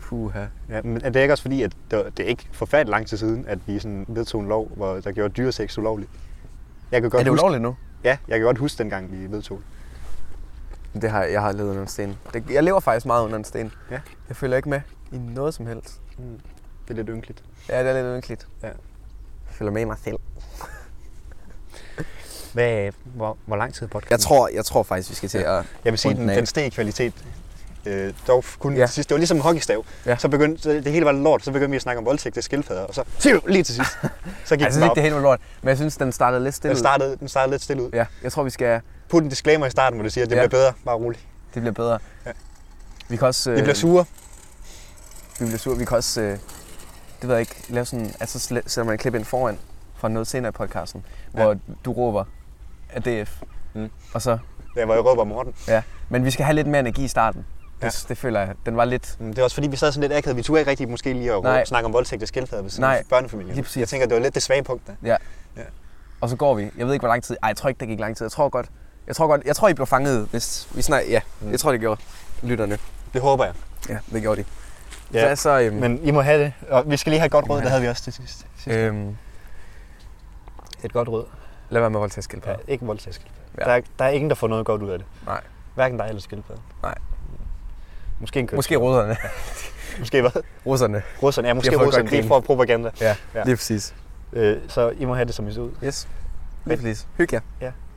Puha. Ja, men er det ikke også fordi, at det var- det er ikke forfærdelig lang tid siden, at vi sådan vedtog en lov, hvor der gjorde dyresex ulovligt? Jeg kan godt Er det huske, ulovligt nu? Ja, jeg kan godt huske dengang, vi vedtog det. Det har, jeg har levet under en sten. Det, jeg lever faktisk meget under en sten. Ja. Jeg følger ikke med i noget som helst. Det er lidt ynkeligt. Ja, det er lidt ynkeligt. Ja. Jeg følger med i mig selv. Hvad, hvor, hvor lang tid er podcasten? Jeg tror, jeg tror faktisk, vi skal til at... Jeg vil sige, Runden den, af. den steg i kvalitet. Øh, dog kun Ja. ja. til sidst. Det var ligesom en hockeystav. Ja. Ja. Så begyndte, så det hele var lort, så begyndte vi at snakke om voldtægt og skildpadder, og så Siv! lige til sidst. (laughs) Altså, Så gik Jeg synes den ikke, det bare er op. helt vildt lort, men jeg synes, den startede lidt stille. Den startede, den startede lidt stille ud. Ja, jeg tror, vi skal... Put en disclaimer i starten, hvor du siger, at det Ja. ja. bliver bedre. Bare roligt. Det bliver bedre. Ja. Vi kan også... øh, Vi bliver sure. Vi bliver sure. Vi kan også... Øh, det ved jeg ikke. Lave sådan... Altså, så sætter man et klip ind foran fra noget senere i podcasten, Ja. hvor du råber af DF. Mm. Og så... Der hvor jeg råber Morten. Ja. Men vi skal have lidt mere energi i starten. Det, Ja. det føler jeg. Den var lidt... Mm, Det var også fordi, vi sad sådan lidt akavet. Vi turde ikke rigtig måske lige at Nej. råbe, snakke om voldtægt og skildpadder ved sådan Nej, en børnefamilie. lige præcis. Jeg tænker, det var lidt det svage punkt der. Og så går vi. Jeg ved ikke, hvor lang tid... Ej, jeg tror ikke, det gik lang tid. Jeg tror godt... Jeg tror godt... Jeg tror, I blev fanget, hvis vi snak... Ja, Mm. jeg tror, det gjorde lytterne. Det håber jeg. Ja, det gjorde de. Ja. Hvad så... Øhm, Men I må have det. Og vi skal lige have et godt råd, Ja. det havde vi også til sidst. sidst. øhm, Et godt råd. lad være med at voldtage skildpadder. Ja, ikke voldtægt skildpadder. Ja. Ja. Der, er, der er ingen, der får noget godt ud af det. Nej. Hverken dig eller skildpadden. Nej. Måske en køn. Måske russerne. Måske hvad? russerne. Russerne. Ja, Jeg måske får godt russerne. grine. Det får propaganda. Ja, Ja. lige præcis. Øh, så I må have det, som I ser ud. Yes. Lige præcis. Hyg jer. Ja.